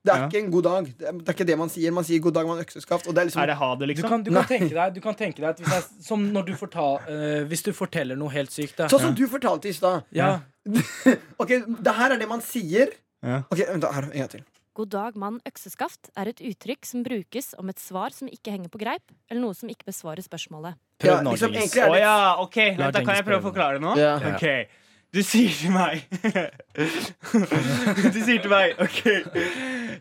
S4: Det er
S3: Ja.
S4: ikke en god dag. Det er, det er ikke det man sier. Man sier 'god dag, mann økseskaft'. Og det er liksom
S3: Er det ha det,
S2: Du
S3: liksom?
S2: kan, du kan, tenke, deg, du kan tenke deg at hvis, jeg, som når du fortal, eh, hvis du forteller noe helt sykt da.
S4: Sånn som du fortalte i stad.
S2: Ja,
S4: Ok, det her er det man sier.
S3: Ja.
S4: Ok, vent da, her, en gang til.
S5: God dag, mann økseskaft er et uttrykk som brukes om et svar som ikke henger på greip, eller noe som ikke besvarer spørsmålet.
S2: prøv
S4: Ja,
S2: nå,
S4: liksom,
S2: Djengis. <laughs>
S4: egentlig er
S3: Å
S4: det-
S3: ja, ok. Vent, da kan
S2: Djengis
S3: jeg prøve å
S2: prøve.
S3: forklare det nå?
S4: Ja.
S3: Ok. Du sier til meg <laughs> Du sier til meg OK.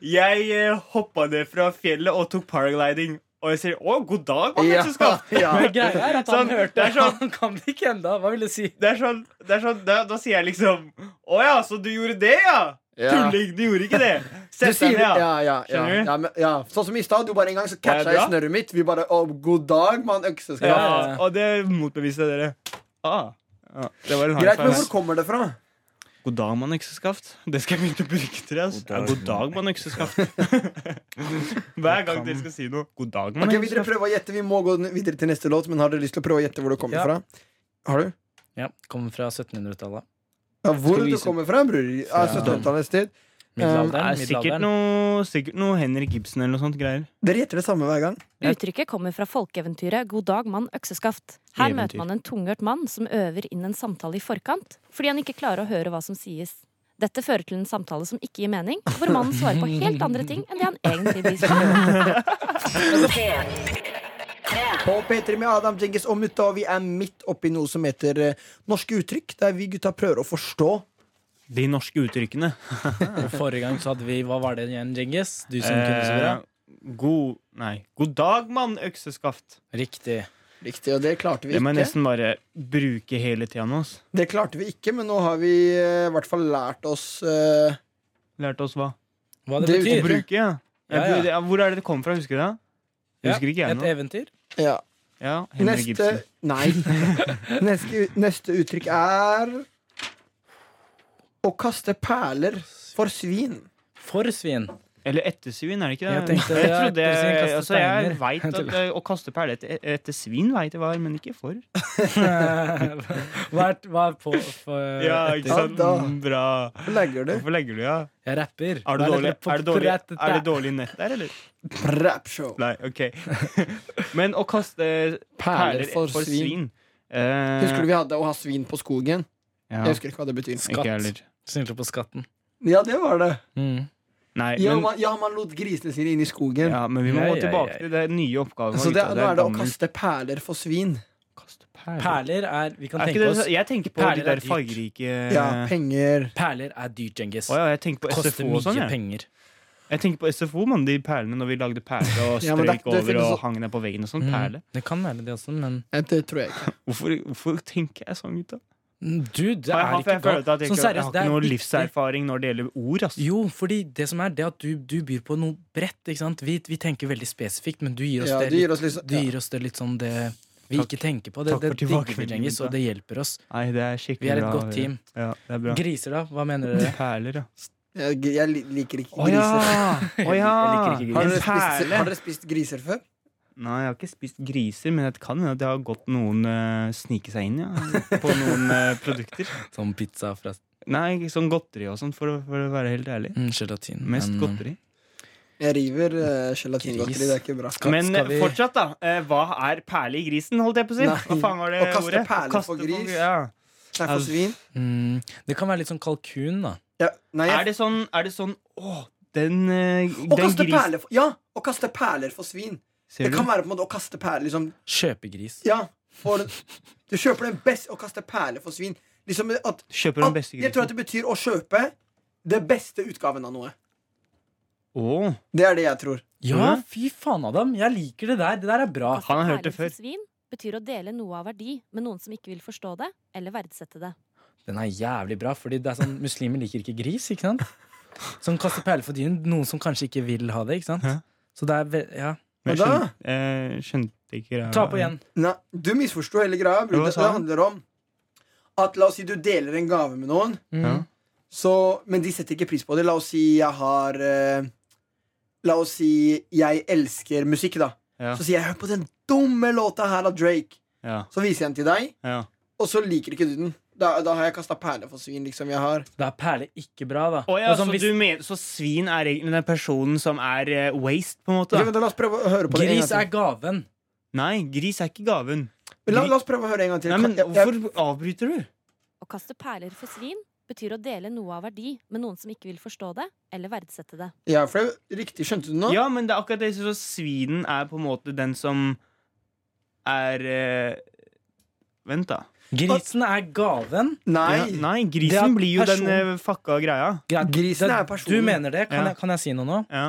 S3: Jeg eh, hoppa ned fra fjellet og tok paragliding. Og jeg sier 'Å, god dag, mann, økseskaft'.
S4: ja.
S2: Men Greia er at han
S3: Sånn, det
S2: hørte
S3: er sånn-
S2: <laughs> Han kan det ikke ennå. Hva vil det si?
S3: Det er sånn, det er sånn da, da sier jeg liksom Å ja, så du gjorde det, ja? Tulling, du gjorde ikke det.
S4: Du
S3: Sett
S4: sier,
S3: deg
S4: ja,
S3: ned, ja.
S4: ja, ja,
S3: Skjønner du?
S4: ja, men, ja. Sånn som i stad. Du bare en gang så
S3: Det
S4: catcha
S3: er
S4: jeg
S3: bra.
S4: snørret mitt. Vi bare å, 'god dag, mann økseskaft'.
S3: ja.
S2: ja, ja.
S3: Og det motbeviste dere. Ah. Ja, det var en high
S4: Greit, men
S3: five.
S4: hvor kommer det fra?
S3: God dag, mann økseskaft. Det skal jeg begynne å bruke til dere. ass.
S2: God
S3: Ja,
S2: dag,
S3: God dag, mann <laughs> økseskaft. Hver gang dere skal si noe. God dag, mann
S4: Ok, vil dere
S3: økseskaft.
S4: prøve å gjette? Vi må gå n- videre til neste låt, men har dere lyst til å prøve å gjette hvor det kommer
S2: Ja.
S4: fra? Har du?
S2: Ja, Kommer fra 1700-tallet.
S4: Ja, hvor
S3: Skal vi
S4: det
S3: vise-
S4: kommer fra, bror? Ja, 1700-tallets tid.
S3: Det
S2: Middelalderen.
S3: er
S2: middelalderen.
S3: sikkert noe, sikkert noe Henrik Ibsen eller noe sånt greier.
S4: Dere gjetter det samme hver gang.
S5: Uttrykket kommer fra folkeeventyret God dag, mann økseskaft. Her
S3: Eventyr.
S5: møter man en tunghørt mann som øver inn en samtale i forkant, fordi han ikke klarer å høre hva som sies. Dette fører til en samtale som ikke gir mening, hvor mannen svarer på helt andre ting enn det han egentlig
S3: <laughs>
S5: viser.
S1: P3.
S4: På P3 med Adam Djengis og Mutta, og vi er midt oppi noe som heter eh, norske uttrykk, der vi gutta prøver å forstå
S3: De norske uttrykkene.
S2: Forrige gang så hadde vi Hva var det igjen, Djengis? Du som kunne så bra.
S3: Eh, god Nei. God dag, mann økseskaft.
S2: Riktig.
S4: riktig, og det klarte vi
S3: Det må jeg
S4: ikke.
S3: nesten bare bruke hele tida nå. ass.
S4: Det klarte vi ikke, men nå har vi eh, i hvert fall lært oss eh,
S3: Lærte oss hva?
S2: Hva det
S4: Det er
S3: Å
S4: ute
S2: betyr?
S3: bruke, ja. Jeg
S2: Ja, ja.
S3: burde- ja. Hvor er det det kom fra? Husker du det? Jeg
S2: Ja,
S3: husker ikke jeg
S2: et
S3: nå.
S2: eventyr?
S4: ja.
S3: Ja, Henry
S4: Neste
S3: Gibson. <laughs>
S4: Nei. Neste, neste uttrykk er å kaste perler for svin.
S2: For svin.
S3: <laughs>
S2: <laughs>
S3: Eller etter svin, er det ikke det?
S2: Jeg tenkte-
S3: jeg trodde,
S2: ja, etter svin kaster
S3: altså, jeg
S2: steiner.
S3: vet at eh, Å kaste perler etter, etter svin veit jeg hva er, men ikke for.
S2: Hva er, hva er på for
S4: ikke sant? Ja, da.
S3: Mm, Bra.
S4: Legger du?
S3: Hvorfor legger du ja?
S2: Jeg rapper.
S3: Er det
S2: Hva
S3: dårlig,
S2: på-
S3: er det dårlig,
S2: på-
S3: er det dårlig nett der, eller?
S4: Rapshow.
S3: Nei, ok. Men å kaste eh, perler for svin eh,
S4: Husker du vi hadde å ha svin på skogen?
S3: Ja,
S4: Jeg husker ikke hva det betyr.
S2: Skatt.
S3: ikke jeg heller.
S2: Snylte på skatten.
S4: Ja, det var det.
S3: Mm. Nei,
S4: Ja,
S3: men,
S4: man, ja, man lot grisene sine inn i skogen.
S3: ja, men vi må
S2: Ja,
S3: gå
S2: ja, ja,
S3: tilbake
S2: ja.
S3: til det nye oppgaven.
S4: Så det,
S3: gutta.
S4: nå er det å
S3: gammel-
S4: kaste perler for svin.
S3: kaste perler.
S2: Perler er Vi kan
S3: Er
S2: tenke
S3: ikke
S2: oss
S3: det, jeg tenker på
S2: Perler
S3: de
S2: er
S3: der
S2: dyrt.
S3: fargerike eh,
S4: Ja, penger.
S2: Perler er dyrt, Djengis.
S3: Å ja, jeg tenker på
S2: Koster
S3: SFO
S2: mye
S3: og sånn. Jeg.
S2: penger.
S3: jeg tenker på SFO, mann. De perlene når vi lagde perler og
S4: <laughs> Ja, men det
S3: strøk
S4: er ikke- det
S3: over
S4: finnes
S3: og
S4: så-
S3: hang ned på veggen og sånn. Perle.
S2: Mm. Det kan være det også, men
S4: Nei, Det tror jeg ikke.
S3: Hvorfor, hvorfor tenker jeg sånn, gutta?
S2: Du, det
S3: Jeg,
S2: er
S3: har-
S2: ikke
S3: jeg, føler
S2: godt.
S3: at jeg,
S2: Sånn
S3: ikke, jeg har
S2: seriøst, det
S3: ikke
S2: er
S3: noe
S2: viktig.
S3: livserfaring når det gjelder ord, ass.
S2: Jo, fordi det som er, det er at du, du byr på noe bredt. ikke sant? Vi, vi tenker veldig spesifikt, men du gir oss,
S4: Ja,
S2: det,
S4: du gir
S2: litt-
S4: oss liksom-
S2: du
S4: ja.
S2: gir oss det litt sånn det vi
S3: Takk.
S2: ikke tenker på. Det,
S3: Takk for
S2: det digger vi,
S3: tilbakemeldingen,
S2: Djengis, og det hjelper oss.
S3: Nei, det er skikkelig
S2: Vi er et
S3: bra,
S2: godt team.
S3: Ja, det er bra.
S2: Griser, da? Hva mener
S3: <laughs>
S2: dere?
S3: Perler, ja.
S4: Jeg, jeg li- liker ikke
S3: Å ja! Å ja!
S4: griser.
S2: Jeg liker ikke griser.
S4: Har
S3: En
S4: dere, spist,
S3: perle.
S4: har dere spist griser før?
S3: Nei, jeg har ikke spist griser, men det kan hende at det har gått noen eh, snike seg inn ja, på noen eh, produkter.
S2: Sånn pizza fra
S3: Nei, sånn godteri og sånn, for, å- for å være helt ærlig.
S2: mm, gelatin.
S3: Mest
S2: men,
S3: godteri.
S4: Jeg river uh, gelatingodteri.
S2: Gris.
S4: Det er ikke bra.
S2: Skal-
S3: Men
S2: skal vi-
S3: eh, fortsatt, da. eh, hva er perle i grisen, holdt jeg på å si?
S4: Nei.
S3: Hva faen var det
S4: Å kaste
S3: ordet? Å
S4: perler
S3: kaste
S4: på gris.
S3: ja.
S4: Nei,
S3: Altså,
S4: for svin.
S2: Mm, det kan være litt sånn kalkun, da.
S4: Ja, nei, jeg,
S3: Er det sånn, er det sånn Å, den, eh,
S4: å
S3: den
S4: kaste
S3: grisen
S4: perler for, ja, å kaste perler for svin. Det
S3: Ser du?
S4: kan være på en måte å kaste perler liksom,
S2: Kjøpegris.
S4: Ja,
S3: <laughs>
S4: for, du kjøper den best å kaste perler for svin. Liksom at,
S3: Kjøper den
S4: at,
S3: beste
S4: jeg tror at
S3: grisen.
S4: det betyr å kjøpe det beste utgaven av noe.
S3: Å,
S4: Det er det jeg tror.
S2: Ja, fy faen, Adam! Jeg liker det der. Det der er bra.
S3: han har hørt det
S5: Perler
S3: før.
S5: for Altså, Svin betyr å dele noe av verdi med noen som ikke vil forstå det eller verdsette det.
S2: Den er jævlig bra, fordi det er sånn muslimer liker ikke gris, ikke sant? Som kaster perler for dyren. Noen som kanskje ikke vil ha det, ikke sant?
S3: Ja.
S2: Så det er ve Ja.
S3: Men
S4: Men da-
S3: skjønte, eh, skjønte ikke greia.
S2: Ta på igjen.
S4: Nei, du misforsto hele greia. bror.
S3: Hva
S4: Det,
S3: sa
S4: det
S3: han?
S4: handler om at la oss si du deler en gave med noen,
S2: Mm.
S3: Ja.
S4: så, men de setter ikke pris på det. La oss si jeg har eh, La oss si jeg elsker musikk, da.
S3: Ja.
S4: Så sier jeg 'hør på den dumme låta her av Drake'.
S3: Ja.
S4: Så viser jeg den til deg,
S3: Ja.
S4: og så liker ikke du den. Da, da har jeg kasta perler for svin, liksom. Jeg har
S2: Da er perle ikke bra, da.
S3: Å ja,
S2: Og
S3: så,
S2: sånn hvis-
S3: du mener, så svin er egentlig den personen som er eh, waste, på en måte?
S4: Ok,
S3: Da.
S4: vent, da, La oss prøve å høre på det en
S2: Gris er
S4: gang til.
S2: gaven.
S3: Nei, gris er ikke gaven.
S4: La, la oss prøve å høre en gang til.
S3: Nei, men
S4: Kan- jeg, jeg,
S3: Hvorfor avbryter du?
S5: Å kaste perler for svin betyr å dele noe av verdi med noen som ikke vil forstå det eller verdsette det.
S4: ja, for det, er riktig, skjønte du nå?
S3: Ja, men det er akkurat det. Så svinen er på en måte den som er eh, Vent, da.
S2: Grisen er gaven.
S4: Nei.
S3: Ja, nei,
S2: Det er
S3: grisen blir jo
S2: person-
S3: den eh, fucka greia.
S2: Greit,
S4: Grisen
S2: det-
S4: er personen.
S2: Du mener det? Kan,
S3: Ja.
S2: jeg, kan jeg si noe nå?
S3: Ja,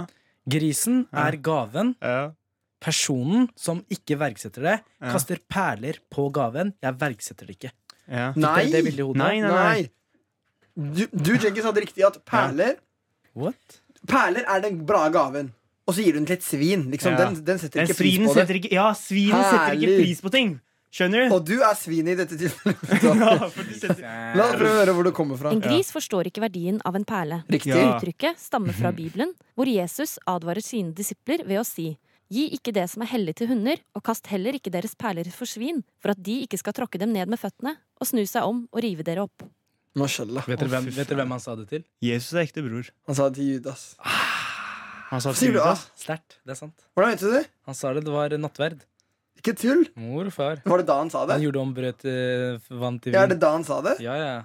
S2: Grisen
S3: Ja.
S2: er gaven.
S3: ja.
S2: Personen som ikke verdsetter det,
S3: Ja.
S2: kaster perler på gaven. Jeg verdsetter det ikke.
S3: ja.
S4: Nei.
S2: Det, det bildet i hodet?
S3: Nei, nei, nei.
S4: Nei. Du, du Jenkins, hadde riktig at perler
S2: What?
S4: Perler er den bra gaven. Og så gir du den til et svin. Liksom.
S3: Ja.
S4: Den, den setter
S3: Den
S4: ikke pris
S3: svinen
S4: på det.
S3: setter ikke Ja, svinen setter ikke
S4: Herlig.
S3: pris på ting. Skjønner du?
S4: Og du er svinet i dette tilfellet.
S3: <laughs> Ja, for du setter...
S4: La oss prøve å høre hvor du kommer fra.
S5: En gris forstår ikke verdien av en perle.
S4: Riktig.
S3: Ja.
S5: Uttrykket stammer fra Bibelen, hvor Jesus advarer sine disipler ved å si Gi ikke det som er hellig til hunder, og kast heller ikke deres perler for svin, for at de ikke skal tråkke dem ned med føttene, og snu seg om og rive dere opp.
S4: Mashallah.
S2: Vet dere, hvem, vet dere hvem han sa det til?
S3: Jesus er ekte bror.
S4: Han sa det til Judas.
S3: Ah. Han sa
S4: Hva sier du,
S3: Judas.
S4: ass?
S2: Sterkt. Det er sant.
S4: Hvordan vet du det?
S2: Han sa det. Det var nattverd.
S4: Ikke tull?
S2: Mor og far.
S4: Var det da han sa det?
S2: Han gjorde om brød til vann til
S4: Ja, er det
S2: vin.
S4: da han sa det?
S2: Ja, ja.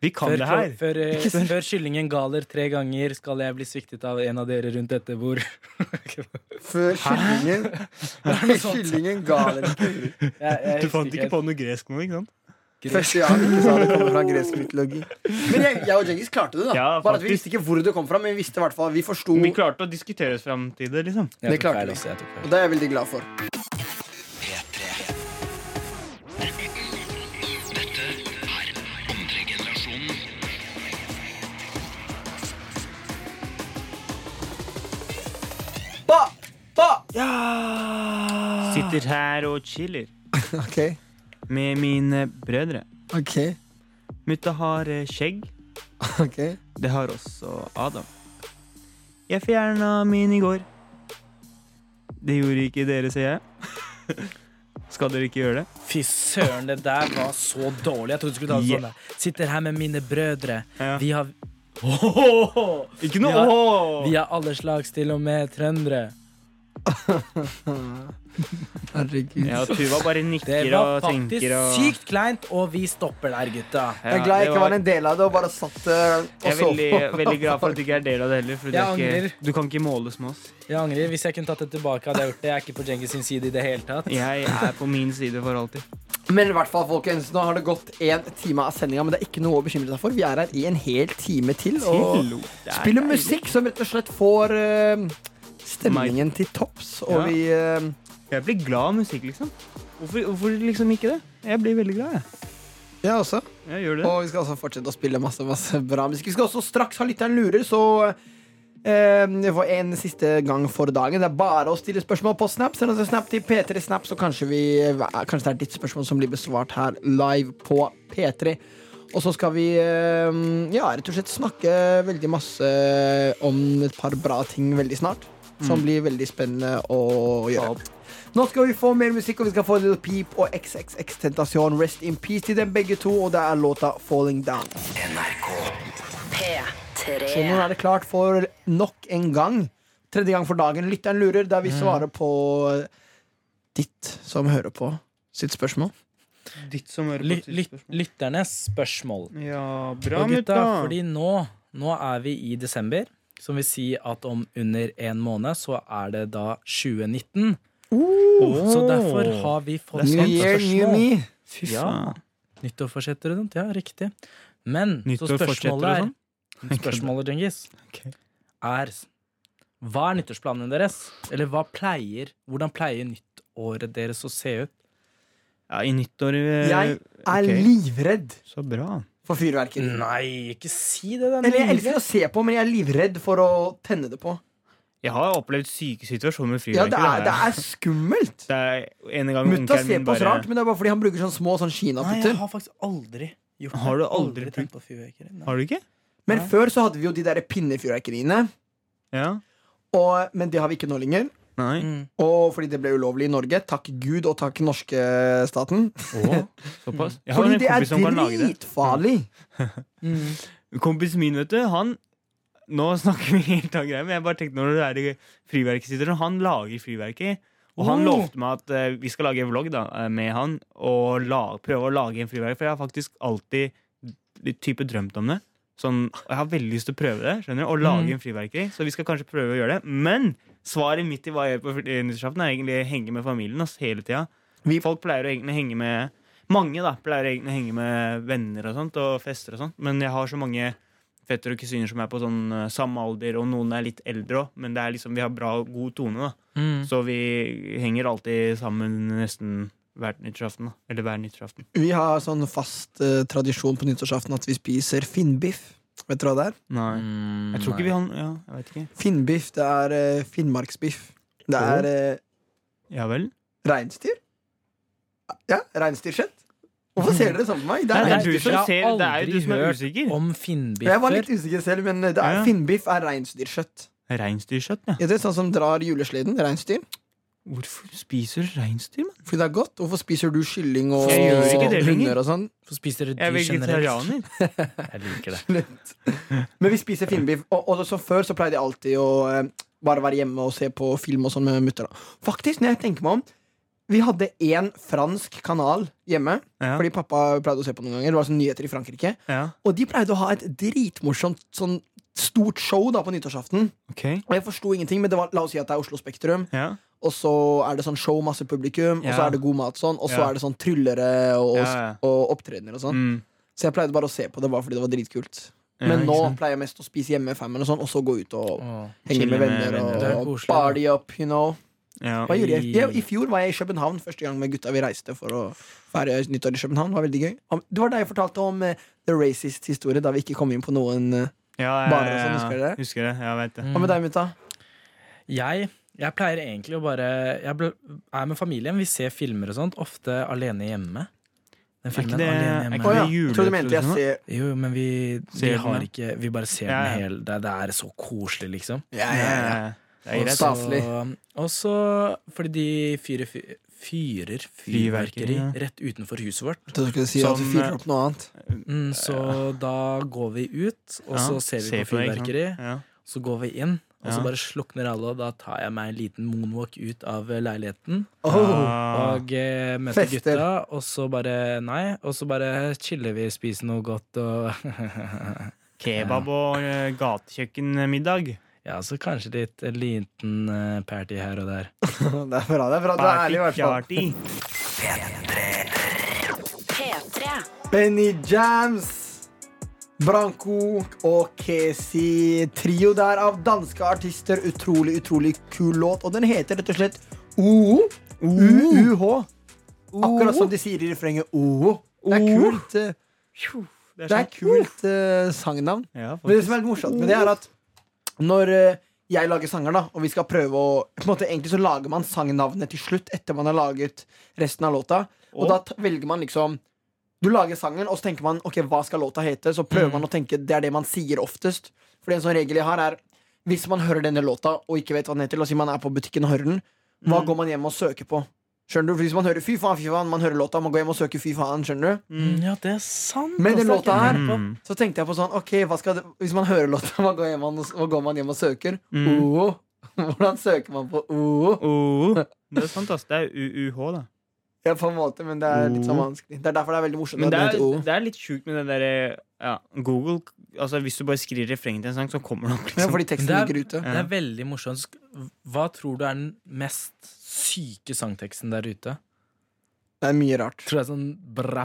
S3: Vi kan
S2: Før,
S3: det
S2: klo-
S3: her.
S2: før, eh, før kyllingen galer tre ganger, skal jeg bli sviktet av en av dere rundt dette bord.
S4: Før
S3: <laughs>
S4: kyllingen Kyllingen galer ikke.
S2: <laughs>
S3: Du fant ikke på noe gresk nå, ikke sant?
S4: Første gang ikke sa det kommer fra gresk mytologi. Men jeg, jeg og Djengis klarte det, da.
S3: Ja,
S4: Bare at Vi
S3: faktisk.
S4: visste ikke hvor det kom fra, men vi visste i hvert fall Vi forsto.
S3: Vi klarte å diskutere oss fram til det, liksom.
S4: det klarte vi.
S2: altså.
S4: Og det er jeg veldig glad for. Ba, ba.
S3: Sitter her og chiller
S4: Ok,
S3: med mine brødre.
S4: ok
S3: Mutta har eh, skjegg.
S4: Ok.
S3: Det har også Adam. Jeg fjerna min i går. Det gjorde ikke dere, ser jeg. <laughs> Skal dere ikke gjøre det?
S2: Fy søren, det der var så dårlig. Jeg trodde du skulle ta det sånn. der. Sitter her med mine brødre.
S3: Ja.
S2: Vi
S3: <laughs>
S2: har Åhåhå!
S3: Ikke
S2: noe-
S3: Vi
S2: Vi har alle slags, til og med trøndere.
S4: Herregud.
S3: Ja, Tuva bare
S2: <laughs> Det
S3: nikker
S2: var
S3: og
S2: faktisk
S3: tenker og
S2: sykt kleint, og vi stopper der, gutta.
S3: Ja,
S4: Jeg er glad jeg
S3: det
S4: ikke var en del av det og bare satt eh,
S3: Jeg
S4: og
S3: er
S4: så
S3: veldig, veldig glad for at du ikke er del av det heller. For det
S2: Jeg
S3: er
S2: angrer.
S3: ikke, du kan ikke måles med oss.
S2: Jeg angrer. Hvis jeg kunne tatt det tilbake, hadde jeg gjort det. Jeg er ikke på Djengis sin side i det hele tatt.
S3: Jeg er på min side for alltid.
S4: Men i hvert fall, folkens, nå har det gått en time av sendinga, men det er ikke noe å bekymre seg for. Vi er her i en hel time til og
S3: Det er
S4: spiller
S3: deilig.
S4: musikk som rett og slett får eh, stemningen til topps, og
S3: Ja.
S4: vi eh,
S3: Jeg blir glad av musikk, liksom. Hvorfor, hvorfor liksom ikke det? Jeg blir veldig glad, jeg.
S4: Ja, også.
S3: Jeg gjør det.
S4: Og vi skal også fortsette å spille masse, masse bra musikk. Vi skal også straks ha lytteren lurer, så eh, for en siste gang for dagen. Det er bare å stille spørsmål på Snap. Send oss en snap til P3 Snap, så kanskje, vi, eh, kanskje det er ditt spørsmål som blir besvart her live på P3. Og så skal vi eh, ja, rett og slett snakke veldig masse om et par bra ting veldig snart.
S3: Mm.
S4: Som blir veldig spennende å gjøre. Nå skal vi få mer musikk, og vi skal få Little Peep og XXX Tentasjon. Rest in peace til dem begge to, og det er låta Falling Down. Så nå
S1: P3.
S4: er det klart for nok en gang. Tredje gang for dagen. Lytteren lurer, der vi svarer på ditt som hører på sitt spørsmål.
S3: Ditt som hører
S2: Ly
S3: på
S2: lyt lytternes spørsmål.
S3: Ja, bra,
S2: og
S3: mutta.
S2: gutta, fordi nå, nå er vi i desember, som vil si at om under en måned så er det da 2019. Så derfor har vi fått
S4: New
S2: et
S4: year, new
S2: spørsmål.
S4: me.
S2: Fy faen. Nyttårsforsetter og sånt, ja, riktig. Men så
S3: Nyttårsforsetter og sånn?
S2: spørsmålet
S3: <laughs>
S2: er Spørsmålet, Djengis,
S3: Ok.
S2: er Hva er nyttårsplanene deres? Eller hva pleier Hvordan pleier nyttåret deres å se ut?
S3: Ja, i nyttår eh,
S4: Jeg er
S3: ok.
S4: livredd
S3: Så bra.
S4: for fyrverkeri.
S2: Nei, ikke si det! det er
S4: Eller jeg
S2: nydelig.
S4: elsker å se på, men jeg er livredd for å tenne det på.
S3: Jeg har opplevd syke situasjoner med
S4: Ja,
S3: fyrverkeri.
S4: det er, det
S3: har jeg.
S4: er skummelt.
S3: Det er en gang
S4: Mutta
S3: onkelen
S4: ser
S3: min
S4: på oss
S3: bare
S4: rart, men det er bare fordi han bruker sånn små sånn
S2: Nei, jeg
S4: kinaputter.
S2: har faktisk aldri gjort det.
S3: Har du aldri
S2: aldri tent på fyrverkeri? Nei.
S3: Har du ikke?
S4: Men før så hadde vi jo de der pinnefyrverkeriene,
S3: Ja.
S4: og, men det har vi ikke nå lenger.
S3: Nei.
S2: Mm.
S4: Og fordi det ble ulovlig i Norge. Takk Gud og takk norske staten.
S3: <laughs> Såpass. Jeg har
S4: Fordi
S3: en
S4: det er
S3: kompis som kan lage det.
S4: dritfarlig.
S2: Mm.
S3: Kompisen min, vet du, han Nå snakker vi helt av greier, men jeg bare tenkte når det er i friverkesituasjonen Han lager friverkeri. Og han
S2: Oh.
S3: lovte meg at eh, vi skal lage en vlogg da, eh, med han og la, prøve å lage en friverker. For jeg har faktisk alltid litt type drømt om det. Sånn, og jeg har veldig lyst til å prøve det. skjønner du? Å lage en friverkeri. Så vi skal kanskje prøve å gjøre det. Men svaret mitt i hva jeg gjør på fri- nyttårsaften, er egentlig henge med familien ass, hele tida. Folk pleier å egentlig henge med Mange da, pleier å egentlig henge med venner og sånt, og fester og sånt. Men jeg har så mange fetter og kusiner som er på sånn eh, samme alder, og noen er litt eldre òg. Men det er liksom, vi har bra, god tone, da.
S2: Mm.
S3: Så vi henger alltid sammen nesten hver nyttårsaften. da. Eller hver nyttårsaften.
S4: Vi har sånn fast eh, tradisjon på nyttårsaften at vi spiser finnbiff. Vet du hva det er?
S2: Mm.
S3: Nei. Jeg tror ikke vi har Ja, jeg vet ikke.
S4: Finnbiff, det er eh, finnmarksbiff. Det er uh,
S3: Ja vel?
S4: reinsdyr. Ja, reinsdyrkjøtt. Hvorfor ser dere det sånn på meg? Det
S3: Det
S4: er
S2: Nei,
S3: er
S4: reinsdyr.
S3: du som
S2: jeg har
S3: ser, det er jo
S2: aldri
S3: du som er
S2: hørt
S3: usikker.
S2: Om
S4: Jeg var
S2: finnbiffer?
S4: litt usikker selv, men eh, det er,
S3: Ja.
S4: finnbiff er reinsdyrkjøtt.
S3: Reinsdyrkjøtt, ja.
S4: Er det sånn som drar julesleden? Reinsdyr?
S3: Hvorfor spiser du reinsdyr, mann?
S4: Fordi det er godt. Hvorfor spiser du kylling og
S3: Jeg gjør ikke det lenger.
S4: hunder og sånn?
S2: Hvorfor spiser
S3: Jeg
S2: dere
S3: er
S2: dyr generelt?
S3: vegetarianer.
S2: <laughs> Jeg liker det.
S4: Slutt. <laughs> Men vi spiser finnbiff, og, og som før så pleide jeg alltid å eh, bare være hjemme og se på film og sånn med mutter. da. Faktisk, når jeg tenker meg om, vi hadde én fransk kanal hjemme,
S3: Ja,
S4: fordi pappa pleide å se på noen ganger. Det var sånn nyheter i Frankrike.
S3: ja.
S4: Og de pleide å ha et dritmorsomt sånn stort show da på nyttårsaften.
S3: ok.
S4: Og jeg forsto ingenting, men det var, la oss si at det er Oslo Spektrum.
S3: Ja.
S4: Og så er det sånn show, masse publikum, og så
S3: Ja.
S4: er det god mat sånn. Og så
S3: Ja.
S4: er det sånn tryllere og,
S3: Ja, ja.
S4: og opptredener og sånn.
S3: Mm.
S4: Så jeg pleide bare å se på det bare fordi det var dritkult.
S3: Ja,
S4: Men
S3: ikke
S4: nå
S3: sant.
S4: pleier jeg mest å spise hjemme med famen og sånn, og så gå ut og
S2: Åh.
S4: henge
S3: Chille
S4: med
S3: med
S4: venner
S2: venner. Det er
S4: og
S2: koselig,
S4: party up, you know.
S3: Ja.
S4: Hva gjorde jeg?
S2: Oi.
S4: jeg? I fjor var jeg i København første gang med gutta. Vi reiste for å feire nyttår i København. Det var veldig gøy. Om- Det var da jeg fortalte om eh, The Racist historie, da vi ikke kom inn på noen eh,
S3: Ja, ja,
S4: Bare
S3: ja,
S4: sånn,
S3: ja.
S4: husker Mm. dere?
S3: Husker det, ja, jeg vet det.
S4: Hva med deg, mutta?
S2: Jeg, jeg pleier egentlig å bare Jeg ble- er med familien, vi ser filmer og sånt, ofte alene hjemme. Den
S3: Er ikke
S2: filmen
S3: det,
S2: alene
S3: er
S2: hjemme.
S3: ikke
S4: Å ja.
S3: det jule-
S4: Tror du mente jeg ser
S2: Jo, jo, men vi, vi
S3: Ser den,
S2: har
S3: ja.
S2: ikke Vi bare ser
S3: Ja, ja.
S2: den hele. Det, det er så koselig, liksom.
S4: ja,
S3: Ja,
S4: ja, ja.
S3: ja, ja. Det er
S2: Og
S3: greit.
S2: så-
S4: Staselig.
S2: Og så fordi de fyrer fy- fyrer
S3: Fyrverkeri,
S2: fyrverkeri
S3: ja.
S2: rett utenfor huset vårt.
S4: Jeg trodde du skulle si at vi
S3: Som,
S4: fyrer opp noe annet.
S2: Mm, så da går vi ut, og
S3: Ja,
S2: så ser vi på
S3: det, ikke sant?
S2: fyrverkeri.
S4: <laughs>
S3: Ja.
S2: Så går vi inn, og så
S3: Ja.
S2: bare slukner alle, og da tar jeg meg en liten moonwalk ut av eh, leiligheten.
S4: Oh.
S3: Ah.
S2: Og eh, møter
S4: Fester.
S2: gutta, og så bare Nei. Og så bare chiller vi, spiser noe godt og <laughs>
S3: Kebab og eh, gatekjøkkenmiddag.
S2: Ja, så kanskje litt en liten eh, party her og der.
S4: Det er bra, det er bra. Du er ærlig, i hvert fall.
S3: Party-party.
S1: P3.
S4: Benny Jams, Branko og Kesi. Trio der av danske artister. Utrolig, utrolig kul låt. Og den heter rett og slett OO. UUH. Akkurat som de sier i refrenget OO. Det er kult. eh, Det er kult eh, sangnavn.
S3: Ja,
S4: Men det
S3: faktisk.
S4: som er litt morsomt med det, er at når eh, jeg lager sanger, da, og vi skal prøve å på en måte, Egentlig så lager man sangnavnet til slutt etter man har laget resten av låta. Og
S3: Å.
S4: da t- velger man liksom Du lager sangen, og så tenker man ok, hva skal låta hete. Så
S3: Mm.
S4: prøver man å tenke det er det man sier oftest. For en sånn regel jeg har, er hvis man hører denne låta og ikke vet hva den heter, la oss si man er på butikken og hører den,
S3: Mm.
S4: hva går man hjem og søker på? Skjønner du? For hvis man hører fy faen, fy faen, man hører låta, man går hjem og søker fy faen, skjønner du?
S2: Ja, det er sant!
S4: Men den
S2: altså,
S4: låta her
S2: jeg
S3: Mm.
S4: så tenkte jeg på sånn, ok, hva skal det, hvis man hører låta, <laughs> hva går, hjem, man- hva går man hjem og søker?
S3: Mm.
S4: OO. <laughs> Hvordan søker man på
S3: Oh,
S4: OO?
S3: det er sant, ass. Det er UUH, da.
S4: Ja, på en måte, men det er litt sånn vanskelig. Det er derfor det er veldig morsomt.
S3: Oh. Men
S4: at
S3: det
S4: den
S3: er,
S4: heter oh. OO.
S3: det er litt sjukt med det derre ja, Google altså Hvis du bare skriver refrenget til en sang, så kommer det opp.
S4: Ja,
S3: Liksom.
S4: fordi teksten
S2: Men det er-
S4: ligger ute.
S2: på. Det er veldig morsomt. Sk- Hva tror du er den mest syke sangteksten der ute?
S4: Det er mye rart.
S2: Tror jeg sånn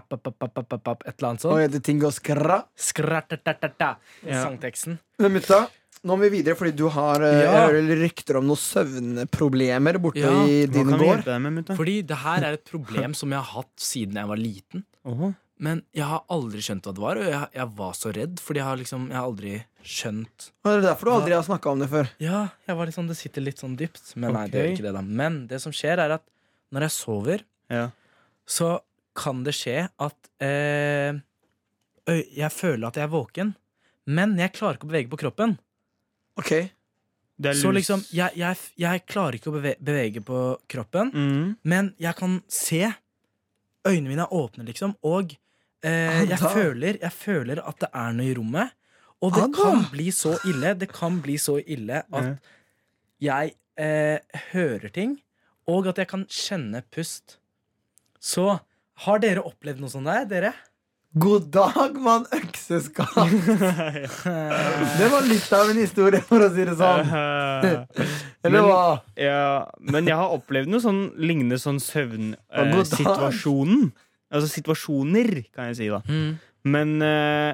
S2: brapapapapapap, et eller annet
S4: Og
S2: sånt.
S4: heter ting går skra.
S2: Skratatata.
S3: Ja.
S2: Sangteksten.
S4: Men mutta, nå må vi videre, fordi du har eh, Jeg
S2: Ja.
S4: hører rykter om noen søvnproblemer borte
S2: Ja.
S4: i
S3: Hva
S4: din
S3: kan vi
S4: gård.
S3: hjelpe deg med, mutta?
S2: Fordi det her er et problem som jeg har hatt siden jeg var liten.
S3: Åh.
S2: Men jeg har aldri skjønt hva det var, og jeg, jeg var så redd. Fordi jeg har liksom, jeg har aldri skjønt
S4: Og Det er derfor du aldri har snakka om det før.
S2: Ja, jeg var litt sånn, det sitter litt sånn dypt. Men nei, det gjør
S3: Ok.
S2: ikke det, da. Men det som skjer, er at når jeg sover,
S3: Ja.
S2: så kan det skje at eh, øy- jeg føler at jeg er våken, men jeg klarer ikke å bevege på kroppen.
S4: Ok,
S3: Det er
S2: Så
S3: lus.
S2: liksom, jeg, jeg, jeg klarer ikke å beve, bevege på kroppen,
S3: Mm.
S2: men jeg kan se. Øynene mine er åpne, liksom, og
S3: Ah,
S2: eh, jeg,
S4: Ada.
S2: føler, jeg føler at det er noe i rommet. Og
S3: Ah,
S2: det
S4: Ada.
S2: kan bli så ille, det kan bli så ille at jeg eh, hører ting, og at jeg kan kjenne pust. Så har dere opplevd noe sånt der,
S3: <laughs>
S2: dere?
S4: God dag, mann økseskaft!
S2: Eh,
S4: Det var litt av en historie, for å si det
S3: <laughs>
S4: sånn.
S3: Eh,
S4: Eller
S3: men-
S4: hva?
S3: Ja, men jeg har opplevd noe sånn lignende sånn
S4: Å, god dag.
S3: søvnsituasjonen. altså situasjoner, kan jeg si, da.
S2: Mm.
S3: Men eh,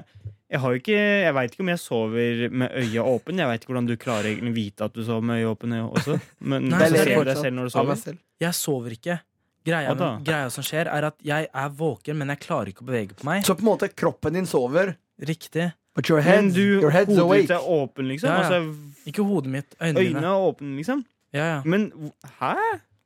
S3: jeg har jo ikke Jeg veit ikke om jeg sover med øya åpen. Jeg veit ikke hvordan du klarer egentlig å vite at du sover med øya åpen jeg også. Men
S2: Nei, det
S3: så
S2: er
S3: ser du deg
S4: fortsatt.
S3: selv når du
S4: Av meg
S3: sover.
S4: selv.
S2: jeg sover ikke. Greia,
S3: Hva da?
S2: greia som skjer, er at jeg er våken, men jeg klarer ikke å bevege på meg.
S4: Så på en måte kroppen din sover,
S2: Riktig.
S4: but your,
S3: Men
S4: head,
S3: du,
S4: your head's
S3: hodet
S4: awake.
S3: ditt er åpen, liksom.
S2: Ja, ja.
S3: Altså,
S2: Ikke hodet mitt, øynene
S3: øynene
S2: mine.
S3: er åpne, liksom.
S2: Ja, ja.
S3: Men hæ?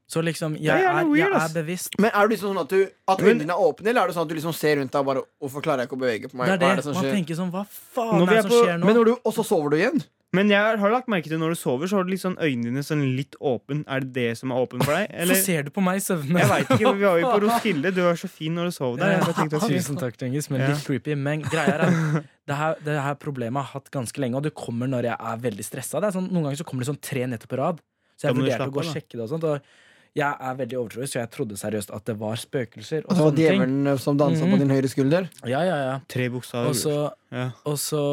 S2: Så liksom, jeg
S3: er
S2: er,
S3: jævlig
S2: jeg
S3: weird,
S2: er
S3: ass.
S2: bevisst.
S4: Men er du liksom sånn at, du, at
S3: Men-
S4: øynene dine er åpne, eller er det sånn at du liksom ser rundt deg og bare Hvorfor klarer jeg ikke å bevege på meg?
S2: Det er det.
S4: Hva er det som
S2: Man
S4: skjer?
S2: tenker sånn, hva faen
S3: Når vi
S2: er det
S3: er
S2: som
S3: på-
S2: skjer nå?
S4: Men når du, og så sover du igjen?
S3: Men jeg har lagt merke til når du sover, så har du litt sånn øynene dine sånn litt åpen. Er det det som er åpen for
S2: <laughs>
S3: deg?
S2: Så ser du på meg i søvne.
S3: Jeg
S2: <laughs>
S3: veit ikke, men vi var jo på Roskilde. Du var så fin når du sov der. Jeg bare tenkte at
S2: Tusen takk, Tengis, men
S3: Ja.
S2: litt creepy. Men greia er at det her, det her problemet har jeg hatt ganske lenge, og det kommer når jeg er veldig stressa. Det er Sånn, noen ganger så kommer det sånn tre netter på rad. Så jeg
S3: Da må du
S2: vurderte å gå og
S3: slappe av, da.
S2: sjekke det og sånt. Og jeg er veldig overtroisk, så jeg trodde seriøst at det var spøkelser.
S4: Og
S2: Og
S4: så var
S2: sånne ting.
S4: djevelen eh, som dansa på
S2: Mhm.
S4: din høyre skulder?
S2: Ja, ja, ja.
S3: Tre bokstaver.
S2: Og så,
S3: ja.
S2: og så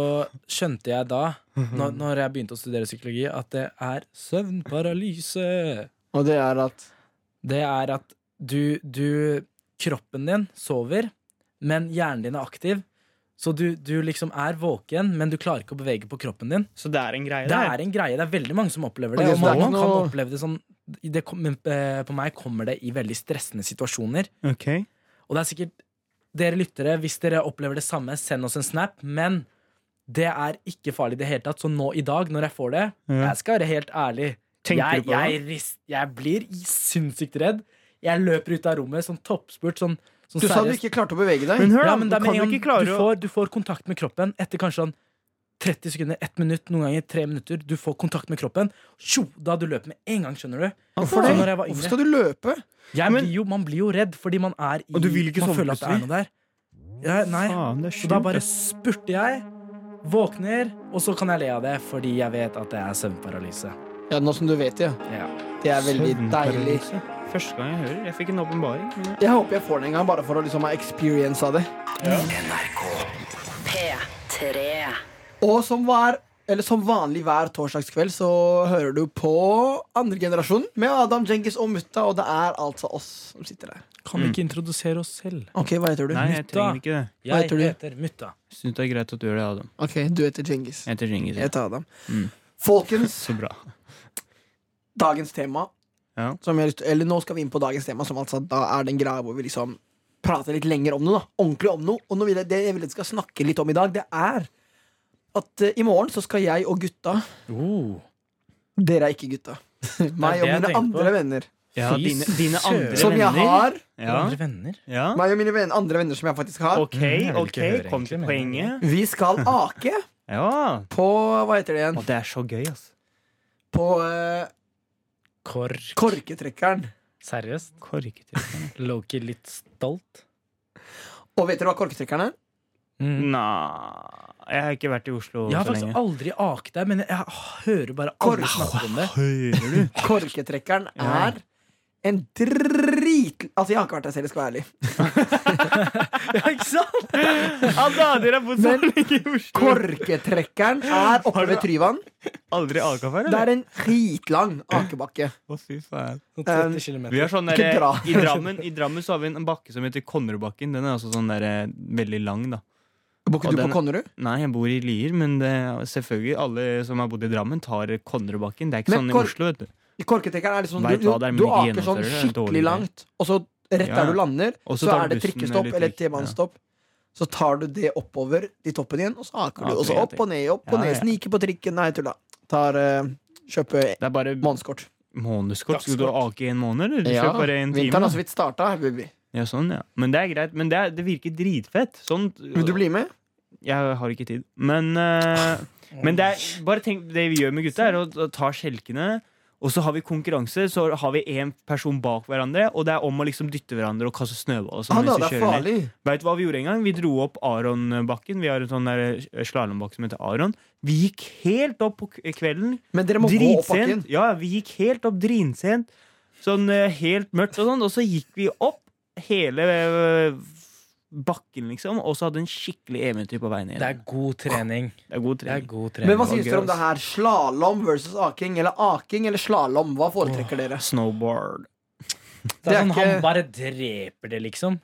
S2: skjønte jeg da,
S3: <laughs>
S2: når, når jeg begynte å studere psykologi, at det er søvnparalyse.
S4: Og det er at
S2: Det er at du, du Kroppen din sover, men hjernen din er aktiv. Så du, du liksom er våken, men du klarer ikke å bevege på kroppen din.
S3: Så det er en greie
S2: Det
S3: der.
S2: er en greie. Det er veldig mange som opplever
S4: Og
S2: det.
S4: det
S2: Og man,
S4: er ikke
S2: man kan
S4: noe-
S2: oppleve det sånn det, kom- men, eh, På meg kommer det i veldig stressende situasjoner.
S3: Ok.
S2: Og det er sikkert dere lyttere, hvis dere opplever det samme, send oss en snap. Men det er ikke farlig i det hele tatt. Så nå i dag, når jeg får det,
S3: Ja.
S2: jeg skal være helt ærlig.
S3: Tenker
S2: jeg,
S3: du på det?
S2: jeg, rist, jeg blir sinnssykt redd. Jeg løper ut av rommet, sånn toppspurt, sånn, Sånn
S4: Du sa du
S2: seriøst.
S4: ikke klarte å bevege deg.
S3: Men hør, da.
S2: Ja, men
S3: du
S2: det er
S3: kan
S2: med
S3: jo
S2: en gang
S3: ikke klare
S2: du, får, du får kontakt med kroppen etter kanskje sånn 30 sekunder, 1 minutt, noen ganger 3 minutter. Du får kontakt med kroppen. Tjo, da du løper med en gang, skjønner du.
S4: Hvorfor,
S2: Så
S4: det?
S2: når jeg var
S4: Hvorfor
S2: yngre-
S4: skal du løpe?
S2: Jeg
S3: Men-
S2: blir jo, man blir jo redd fordi man er i
S3: Og du vil ikke
S2: Man
S3: sove
S2: føler at det er
S3: plutselig?
S2: noe der. Ja, nei.
S3: å Faen, det er altså.
S2: Så da
S3: sjukt,
S2: bare
S3: ass.
S2: spurter jeg, våkner, og så kan jeg le av det fordi jeg vet at det er søvnparalyse.
S4: Ja, nå som du vet det.
S2: Ja.
S4: Det er veldig deilig.
S3: Søvnparalyse. sånn. Første gang jeg hører. Jeg fikk en åpenbaring. men jeg-
S4: Jeg håper jeg får den en gang, bare for å liksom ha experience av det.
S1: P3.
S4: Og som, var, eller som vanlig hver torsdagskveld så hører du på andre generasjon med Adam Djengis og Mutta, og det er altså oss som sitter der.
S2: Kan vi ikke introdusere oss selv?
S4: Ok, hva heter du?
S3: Nei, jeg
S2: Mutta.
S3: trenger ikke det.
S2: Mm. Jeg
S4: heter du?
S2: heter Mutta.
S3: Jeg Syns det er greit at du gjør det, Adam.
S4: Ok, du heter Djengis.
S3: Jeg heter Djengis.
S4: Jeg heter Adam.
S3: Mm.
S4: Folkens,
S3: Så bra.
S4: dagens tema
S3: Ja.
S4: som jeg, har lyst til- Eller nå skal vi inn på dagens tema, som altså da er den greia hvor vi liksom prater litt lenger om noe. da Ordentlig om noe. Og nå vil jeg, det jeg vil at vi skal snakke litt om i dag, det er at eh, i morgen så skal jeg og gutta
S2: Oh.
S4: Dere er ikke gutta. Meg
S2: det
S4: og
S2: jeg
S4: mine
S2: tenkte
S4: andre
S2: på.
S4: venner.
S3: Ja,
S2: Fy
S3: dine, dine
S2: søren. Sånn.
S3: andre
S4: Som jeg
S3: venner.
S4: har.
S3: Ja,
S2: Andre venner?
S3: ja.
S4: Meg og mine ven andre venner som jeg faktisk har.
S3: Ok,
S2: Mm, jeg vil ikke
S3: ok,
S2: høre
S3: kom til
S2: egentlig, men-
S3: poenget.
S4: Vi skal ake
S3: Ja.
S4: på Hva heter det igjen?
S3: Og det er så gøy, altså.
S4: På eh,
S2: Kork.
S4: korketrekkeren.
S2: Seriøst?
S3: Korketrekkeren.
S2: Loki litt stolt?
S4: Og vet dere hva korketrekkeren er?
S3: Nei Mm. Jeg har ikke vært i Oslo
S2: Mm. Jeg har
S3: så
S2: faktisk
S3: lenge.
S2: aldri aket der, men jeg hører bare alle
S4: Kork.
S2: snakke om det.
S3: Hører du?
S4: Korketrekkeren
S3: Ja.
S4: er en drit... Altså, jeg har ikke vært der selv, jeg skal være ærlig.
S2: <laughs> Ja, ikke sant?
S3: <laughs> Alle dere har bodd så lenge i Oslo.
S4: Korketrekkeren er oppe
S3: Har du-
S4: ved Tryvann.
S3: Aldri aka før,
S4: Det
S3: eller?
S4: er en dritlang akebakke.
S3: Å, fy faen.
S2: Sånn
S4: Um,
S2: 30 kilometer.
S3: Vi har sånn
S4: Ikke
S3: der,
S4: dra.
S3: i, Drammen, I Drammen så har vi en bakke som heter Konnerudbakken. Den er også sånn der, eh, veldig lang, da.
S4: Bor ikke
S3: Og
S4: du på
S3: den-
S4: Konnerud?
S3: Nei, jeg bor i Lier, men det, er selvfølgelig alle som har bodd i Drammen, tar Konnerudbakken. Det er ikke
S4: Men
S3: sånn i
S4: Kor-
S3: Oslo, vet du.
S4: Korketrekkeren er liksom
S3: Vet
S4: Du,
S3: hva det er, men
S4: du
S3: ikke
S4: aker sånn
S3: gjennomfører det. Det er dårlig
S4: skikkelig
S3: idé.
S4: langt, og så rett
S3: Ja.
S4: der du lander,
S3: Og så
S4: så
S3: tar
S4: er
S3: du
S4: det
S3: bussen
S4: trikkestopp
S3: eller
S4: eller
S3: trikk, ja.
S4: T-banestopp. Så tar du det oppover til toppen igjen, og så aker
S3: Ja,
S4: du. Og så
S3: ok,
S4: opp og ned, opp og
S3: Ja,
S4: ned.
S3: ja.
S4: Snike på trikken. Nei, tulla. Tar eh, Kjøpe
S3: Det er bare
S4: månedskort.
S3: månedskort. Skulle du ake i en måned, eller?
S4: Ja,
S3: Kjøp bare en time.
S4: Vinteren har så vidt starta. Baby.
S3: Ja, sånn, ja. Men det er greit. Men det, er, det virker dritfett. Sånt,
S4: Vil du bli med?
S3: Jeg har ikke tid. Men, eh, men det er, bare tenk det vi gjør med gutta, er å å ta skjelkene. Og så har vi konkurranse, så har vi én person bak hverandre. Og det er om å liksom dytte hverandre og kaste snøball. og sånn
S4: Han
S3: mens
S4: Ah, da,
S3: vi
S4: det er
S3: kjører ned.
S4: farlig.
S3: Vet du hva vi gjorde en gang? Vi dro opp Aronbakken. Vi har en sånn slalåmbakke som heter Aron. Vi gikk helt opp på k- kvelden.
S4: Men dere må gå opp bakken.
S3: Dritsent. Ja, vi gikk helt opp drinsent. Sånn eh, helt mørkt og sånn. Og så gikk vi opp hele eh, bakken, liksom. Og så hadde en skikkelig eventyr på veien ned.
S2: Det er god trening.
S3: Det er god
S2: Det er
S3: trening.
S2: god trening.
S4: Men
S3: var
S4: hva syns
S3: gøy,
S4: dere om det
S3: ass.
S4: her? Slalåm versus aking? Eller aking eller slalåm? Hva foretrekker dere?
S3: Snowboard.
S2: Det er
S4: Det er
S2: sånn, han
S4: ikke-
S2: bare dreper det, liksom.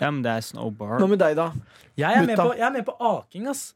S3: Ja, men det er snowboard.
S4: Hva med deg, da?
S2: Jeg er, med
S4: Mutta.
S2: på, jeg er med på aking, ass.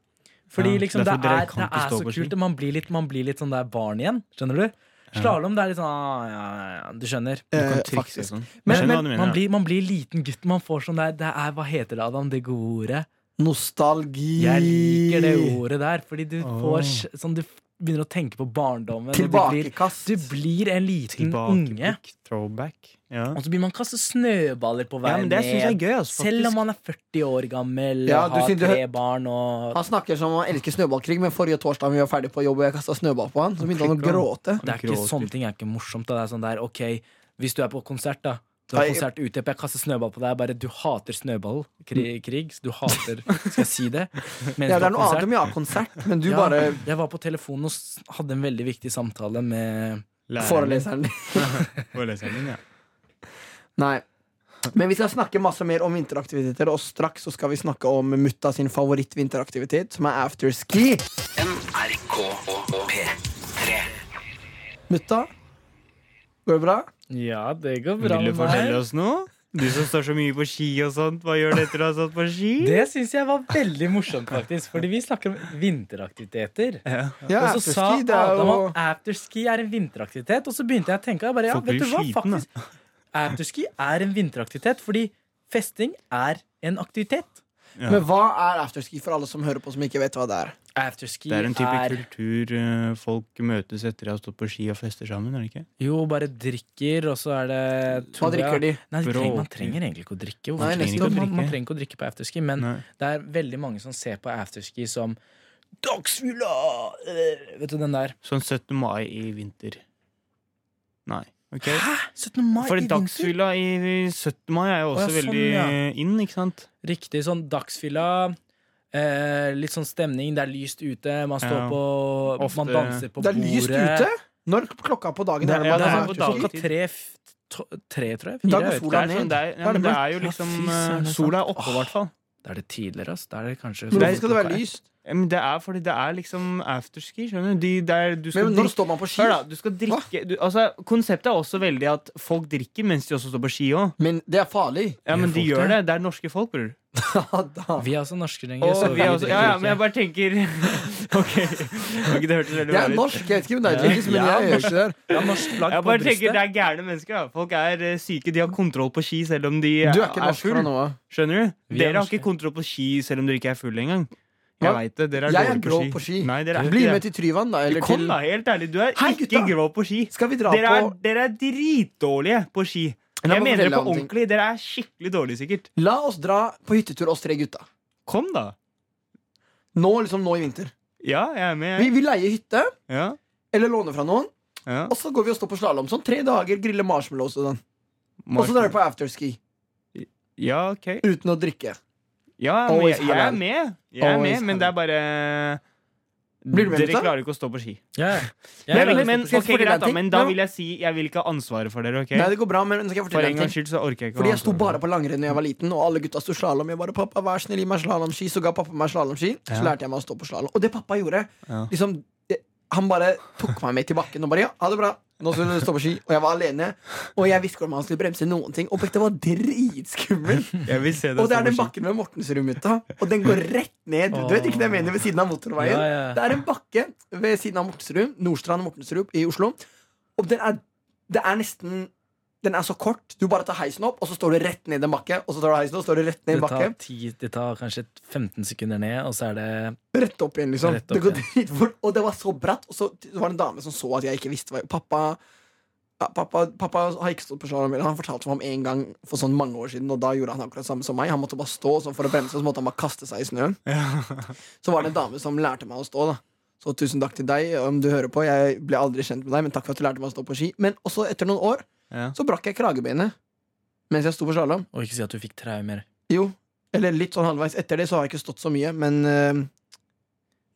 S2: Fordi
S3: Ja,
S2: liksom, det
S3: derfor
S2: er,
S3: dere
S2: det
S3: kan ikke
S2: er
S3: stå
S2: så
S3: på ski.
S2: kult. og Man blir litt, man blir litt sånn der barn igjen. Skjønner du? Slalåm, det er litt sånn ah, ja, ja, ja, Du skjønner.
S3: Du kan
S4: Eh,
S3: trikse og
S4: faktisk.
S3: sånn.
S4: Men-
S3: Skjønner
S4: men-
S3: hva du mener,
S2: Man
S3: ja.
S2: blir, man blir liten gutt. Man får sånn der det er, Hva heter det, Adam? Det gode ordet?
S4: Nostalgi.
S2: Jeg liker det ordet der, fordi du
S3: Åh.
S2: får sj- sånn Du f- begynner å tenke på barndommen. og Du blir,
S4: Tilbakekast.
S2: du blir en liten unge.
S3: Tilbakeblikk. Throwback. Ja.
S2: Og så blir man kastet snøballer på
S3: ja,
S2: veien
S3: men det syns jeg er
S2: ned.
S3: gøy, altså,
S2: Selv om
S3: faktisk.
S2: man er 40 år gammel
S4: Ja,
S2: og
S4: du
S2: har
S4: sier du
S2: tre
S4: hø-
S2: barn og
S4: Han snakker som han elsker snøballkrig, men forrige torsdag vi var ferdig på jobb og jeg kasta snøball på han, så begynte han å
S3: klikker han.
S4: gråte.
S2: Det er ikke
S3: Gråter.
S2: sånne ting er ikke morsomt. Da. Det er sånn der, ok, Hvis du er på konsert, da. Du har
S4: Nei.
S2: konsert ute, jeg kaster snøball på deg. Bare du hater snøball. Krig, krig så du hater Skal jeg si det? Mens
S4: <laughs> Ja,
S2: du
S4: det
S2: har
S4: er noe annet
S2: konsert.
S4: om jeg har konsert, men du
S2: Ja,
S4: bare
S2: Jeg var på telefonen og s- hadde en veldig viktig samtale med
S3: Læreren din.
S4: foreleseren din.
S3: Foreleseren din, ja.
S4: Nei. Men vi skal snakke masse mer om vinteraktiviteter, og straks så skal vi snakke om mutta sin favorittvinteraktivitet, som er afterski. Mutta, går det bra?
S2: Ja, det går bra
S3: Vil du
S2: med
S3: fortelle
S2: meg.
S3: oss noe? Du som står så mye på ski og sånt, hva gjør du etter å ha stått på ski?
S2: Det syns jeg var veldig morsomt, faktisk. Fordi vi snakker om vinteraktiviteter.
S4: Ja,
S2: Og så sa
S4: afterski, det er
S2: Adam
S4: jo
S2: at afterski er en vinteraktivitet, og så begynte jeg å tenke. Jeg bare, ja,
S3: Folk
S2: vet
S3: blir
S2: du hva,
S3: sliten, da.
S2: faktisk Afterski er en vinteraktivitet fordi festing er en aktivitet.
S3: Ja.
S4: Men hva er afterski for alle som hører på som ikke vet hva det er?
S2: Afterski
S3: Det er en type
S2: er
S3: kultur eh, folk møtes etter å ha stått på ski og fester sammen. er det ikke?
S2: Jo, bare drikker, og så er det
S4: Hva drikker de?
S2: Nei, de trenger, man
S3: Bråker.
S2: trenger egentlig ikke å drikke. Hvorfor
S4: Nei,
S2: trenger
S4: nettopp.
S2: ikke å drikke? Man, man trenger ikke å drikke på afterski, men
S3: Nei.
S2: det er veldig mange som ser på afterski som Dagsfylla! Eh, Vet du den der?
S3: Sånn 17. mai i vinter. Nei. ok
S2: 17. mai
S3: For dagsfylla i i 17. mai er
S2: Å,
S3: jo
S2: ja,
S3: også
S2: sånn,
S3: veldig
S2: ja.
S3: eh, inn, ikke sant?
S2: Riktig sånn dagsfylla. Eh, litt sånn stemning, det er lyst ute, man står
S3: Ja.
S2: på Man
S3: Ofte-
S2: danser på
S4: Det
S2: bordet.
S4: er lyst ute? Når klokka på dagen
S3: Det
S4: er
S3: er-
S4: man
S3: det
S4: har
S3: på
S4: afterski?
S3: dagen.
S2: sånn Klokka tre, f- to- tre, tror jeg.
S4: Da
S2: Fire,
S4: går
S2: jeg vet ikke.
S3: Det
S4: sola
S3: er,
S4: ned.
S3: sånn, det er,
S4: Da
S3: ja,
S4: er det
S3: men det er jo
S2: mørkt.
S3: liksom
S2: Ja, fy søren,
S3: eh,
S2: det er
S3: Sola er oppe, i hvert fall.
S2: Da er sånn- det tidligere, ass. Da er det kanskje
S4: Men
S2: sånn
S4: hvorfor skal det
S2: klokka
S4: være
S2: er-
S4: lyst?
S3: Ja, Men det er fordi det er liksom afterski, skjønner du. De der, du skal
S4: Men når
S3: drikke-
S4: står man på ski?
S3: Hør da, du skal drikke du, altså, Konseptet er også veldig at folk drikker mens de også står på ski òg.
S4: Men det er farlig. <laughs>
S3: Ja, men
S2: Gjør
S3: de
S2: folk
S3: gjør
S2: det?
S3: det. Det er norske folk, bror.
S4: Ja, da.
S2: Vi er også norske lenger,
S3: Og
S2: så
S3: vi
S2: vi
S3: er også,
S2: drikker
S3: ja, ja, men
S2: ikke.
S3: jeg bare tenker <laughs> Ok, Ok, det hørtes veldig bra
S4: Jeg er
S3: ut.
S4: norsk, jeg vet ikke om det er lenger, men
S2: Ja.
S4: jeg gjør ikke det. her.
S2: Det er norsk flagg
S3: Jeg
S2: på
S3: bare tenker Det
S2: brystet.
S3: er gærne mennesker. da Folk er eh, syke. De har kontroll på ski selv om de
S4: Du er ikke norsk fra nå av.
S3: Skjønner du?
S2: Vi er
S3: Dere har
S2: norske.
S3: ikke kontroll på ski selv om dere ikke er fulle engang. Jeg
S4: Hva?
S3: vet det, dere er
S4: Jeg er
S3: dårlige
S4: grov på ski.
S3: Nei, dere er
S4: Bli
S3: ikke
S4: med
S3: det.
S4: til Tryvann, da. Eller
S3: Kom,
S4: til
S3: da, helt ærlig. Du er
S4: Hei,
S3: ikke
S4: gutta!
S3: grov på ski.
S4: Skal vi dra
S3: Dere er,
S4: på
S3: dere er dritdårlige på ski.
S4: La
S3: Jeg
S4: meg
S3: mener det på
S4: fortelle deg om ting.
S3: ordentlig. Dere er skikkelig dårlige, sikkert.
S4: La oss dra på hyttetur, oss tre gutta.
S3: Kom, da.
S4: Nå liksom nå i vinter.
S3: Ja, jeg er med.
S4: Vi,
S3: jeg.
S4: vi leier hytte,
S3: Ja,
S4: eller låner fra noen,
S3: ja.
S4: og så går vi og står på slalåm sånn tre dager, griller marshmallows og sånn. Og så drar vi på afterski
S3: Ja, ok.
S4: uten å drikke.
S3: Ja, men
S4: Always
S3: jeg, jeg er
S4: halal.
S3: med. Jeg er
S4: Always
S3: med, men det er bare
S4: Blir du med,
S3: Dere
S4: gutta?
S3: klarer ikke å stå på ski.
S2: Ja. Ja, ja,
S3: Men, men,
S2: ja.
S3: men,
S4: skal jeg
S3: ok,
S4: fortelle
S3: greit,
S4: en
S3: da,
S4: ting?
S3: men da
S4: Ja.
S3: vil jeg si jeg vil ikke ha ansvaret for dere. ok?
S4: Nei, det går bra, men skal jeg
S3: For
S4: fortelle
S3: en
S4: deg en
S3: gangs
S4: ting?
S3: skyld så orker jeg ikke å
S4: Fordi
S3: ha
S4: jeg sto
S3: ansvaret for
S4: bare på langrenn da jeg var liten, og alle gutta sto slalåm. Jeg bare 'pappa, vær snill, gi meg slalåmski', så ga pappa meg slalåmski. Så
S3: Ja.
S4: lærte jeg meg å stå på slalåm. Og det pappa gjorde,
S3: Ja.
S4: liksom det- Han bare tok meg med til bakken og bare 'ja, ha det bra'. Nå skal du stå på ski. Og jeg var alene. Og jeg visste ikke om han skulle bremse noen ting. Og på ekte, det var
S3: <laughs>
S4: dritskummelt.
S3: dere. Jeg vil se dere
S4: Og det er
S3: stå på
S4: den
S3: ski.
S4: bakken ved Mortensrud-mutta, og den går rett ned. Du vet ikke det jeg mener ved siden av motorveien?
S2: Ja, ja.
S4: Det er en bakke ved siden av Mortensrud, Nordstrand og Mortensrud i Oslo. Og den er, det er nesten Den er så kort. Du bare tar heisen opp, og så står du rett ned i en bakke. Og så tar du heisen opp, og så står du rett ned i
S2: Det
S4: en bakke.
S2: tar, ti, det tar kanskje 15 sekunder ned, og så er det
S4: Rett opp igjen, liksom.
S2: Rett opp
S4: det går
S2: igjen.
S4: dritfort. Og det var så bratt. Og så var det en dame som så at jeg ikke visste hva Pappa ja, pappa, pappa har ikke stått på slalåm. Han fortalte meg om en gang for sånn mange år siden, og da gjorde han akkurat samme som meg. Han måtte bare stå sånn for å bremse, og så måtte han bare kaste seg i snøen. Så var det en dame som lærte meg å stå, da. Så tusen takk til deg, om du hører på. Jeg ble aldri kjent med deg, men takk for at du lærte meg å stå på ski. Men også etter noen år
S3: Ja.
S4: så brakk jeg kragebeinet mens jeg sto på slalåm.
S2: Og ikke si at du fikk traumer.
S4: Jo, eller litt sånn halvveis. Etter det så har jeg ikke stått så mye, men eh,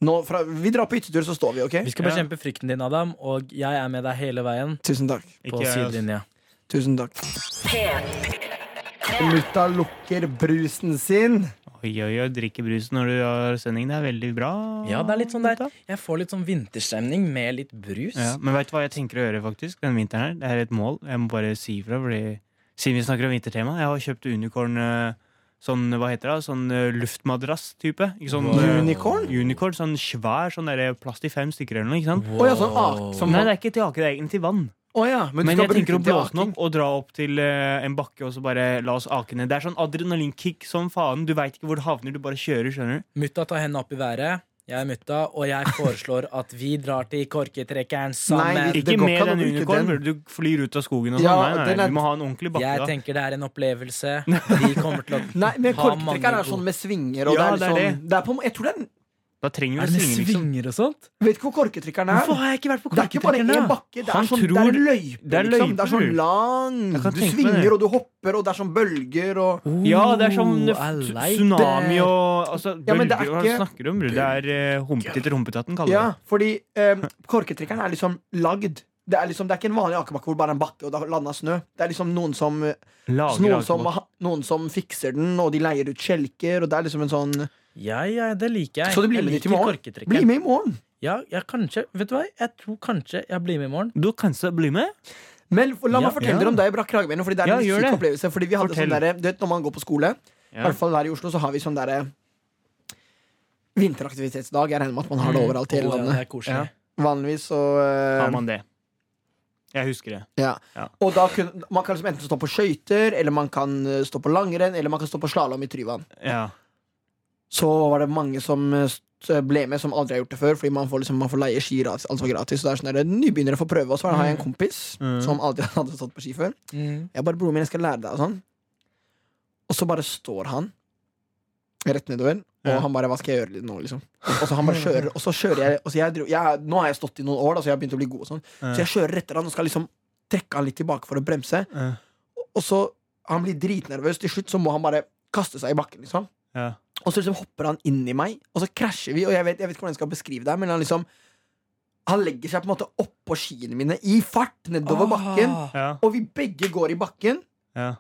S4: nå, fra, Vi drar på hyttetur, så står vi, OK?
S2: Vi skal
S3: Ja.
S2: bekjempe frykten din, Adam, og jeg er med deg hele veien
S4: Tusen takk.
S2: på
S3: Ikke jeg, altså.
S2: sidelinja.
S4: Tusen takk.
S1: P3.
S4: Mutta lukker brusen sin.
S3: Oi, oi, oi, drikke brus når du har sending. Det er veldig bra.
S2: Ja, det er litt sånn der
S3: gutta.
S2: Jeg får litt sånn vinterstemning med litt brus.
S3: Ja, men vet du hva jeg tenker å gjøre faktisk denne vinteren her? Det er et mål. Jeg må bare si ifra, fordi siden vi snakker om vintertema, jeg har kjøpt unicorn eh, Sånn, hva heter det? da? Sånn eh, luftmadrass-type. Ikke Sånn,
S2: Wow.
S3: eh,
S4: Unicorn?
S3: Unicorn, Sånn svær, sånn der plast i fem stykker eller noe. ikke sant?
S2: Wow.
S4: Å ja, sånn ak- som-
S3: Nei, det er ikke til ake, det er egentlig til vann.
S4: Å ja, men,
S3: Men
S4: du skal
S3: jeg tenker
S4: bruke
S3: å
S4: den til
S3: blåse den
S4: aking.
S3: opp og dra opp til eh, en bakke og så bare la oss ake ned. Det er sånn adrenalinkick som faen. Du veit ikke hvor det havner, du bare kjører, skjønner du.
S2: Mutta tar hendene opp i været. Jeg er mutta, og jeg foreslår at vi drar til korketrekkeren
S4: Nei,
S2: sammen.
S4: vi-
S3: Ikke
S4: går
S3: med
S4: ikke an å
S3: den
S4: bruke
S3: unicorn,
S4: den.
S3: burde du flyr ut av skogen og sånn.
S4: Ja,
S3: nei, nei,
S4: den er-
S3: nei, du må ha en ordentlig bakke.
S2: Jeg
S3: da.
S2: tenker det er en opplevelse.
S4: <laughs>
S2: Vi kommer til å
S4: Nei, men
S2: Ha
S4: korktrekkeren er
S2: mange
S4: sånn med svinger, og
S3: Ja,
S4: det er litt
S3: det er
S4: sånn det er på, Jeg tror det er en-
S3: Da trenger
S2: Er
S3: du
S2: det
S3: å synge, liksom.
S2: svinger og sånt?
S4: Vet ikke hvor korketrekkeren er.
S2: Hvorfor har jeg ikke vært på
S4: Det er ikke bare
S2: korketrekkeren?
S4: én
S2: da?
S4: bakke. Det er,
S3: Han
S4: sånn, det
S3: tror-
S4: er løyper,
S3: det er
S4: liksom. Det er sånn
S3: løyper.
S4: lang.
S3: Jeg kan tenke
S4: Du
S3: meg det.
S4: svinger, og du hopper, og det er sånn bølger og
S2: Oh,
S3: Ja, det er sånn
S2: I
S3: f-
S2: like
S3: tsunami
S4: det.
S3: og altså,
S4: Ja, men det er
S3: bølger, Hva
S4: ikke-
S3: snakker du om? bror? Det er uh, humpet etter humpetatten, kaller
S4: Ja,
S3: det.
S4: fordi eh, korketrekkeren er liksom lagd. Det er, liksom, det er ikke en vanlig akebakke hvor det bare er en bakke og det har landet snø. Det er liksom noen som,
S3: Lager
S4: noen
S3: akebakk.
S4: som, noen som fikser den, og de leier ut kjelker, og det er liksom en sånn
S2: Ja, ja, det liker jeg.
S4: Så du blir med
S2: jeg
S4: dit i morgen?
S2: korketrekkeren.
S4: Bli med i morgen!
S2: Ja, jeg kanskje. Vet du hva? Jeg tror kanskje jeg blir med i morgen.
S3: Du kan så bli med.
S4: Men f- la meg
S2: Ja,
S4: fortelle
S3: ja.
S4: dere om da jeg brakk kragebeinet, fordi det er
S3: Ja,
S4: en
S3: gjør
S4: syk
S3: det.
S4: opplevelse. Fordi vi hadde
S3: Fortell.
S4: sånn derre- du vet, når man går på skole, i
S3: Ja.
S4: hvert fall her i Oslo, så har vi sånn derre Vinteraktivitetsdag. Jeg regner med at man har det overalt i hele
S2: Å, ja, det
S4: landet.
S2: er koselig.
S3: Mm. Ja.
S4: Vanligvis så
S3: Har
S4: eh,
S3: man det. Jeg husker det.
S4: Ja.
S3: Ja.
S4: Og da kun, man kan liksom enten stå på skøyter, eller man kan eh, stå på langrenn, eller man kan stå på slalåm i Tryvann.
S3: Ja.
S4: så var det mange som eh, s- ble med som aldri har gjort det før, fordi man får, liksom, man får leie ski gratis. Alt var gratis. Så det er sånn der, Nybegynnere får prøve. Og så har jeg en kompis
S3: Mm.
S4: som aldri <laughs> hadde stått på ski før.
S2: Mm.
S4: Jeg bare, broren min, jeg skal lære deg og sånn. Og så bare står han rett nedover, og
S3: Ja.
S4: han bare Hva skal jeg gjøre nå, liksom? Og så han bare kjører, og så kjører jeg, og så jeg, dro, jeg Nå har jeg stått i noen år, da, så jeg har begynt å bli god og sånn. Så jeg kjører etter han og skal liksom trekke han litt tilbake for å bremse.
S3: Ja.
S4: Og så Han blir dritnervøs. Til slutt så må han bare kaste seg i bakken, liksom.
S3: Ja.
S4: Og så liksom hopper han inn i meg, og så krasjer vi. Og jeg vet, jeg vet ikke hvordan jeg skal beskrive det, her, men han liksom Han legger seg på en måte oppå skiene mine i fart nedover bakken,
S2: Ah.
S3: Ja.
S4: og vi begge går i bakken.
S3: Ja.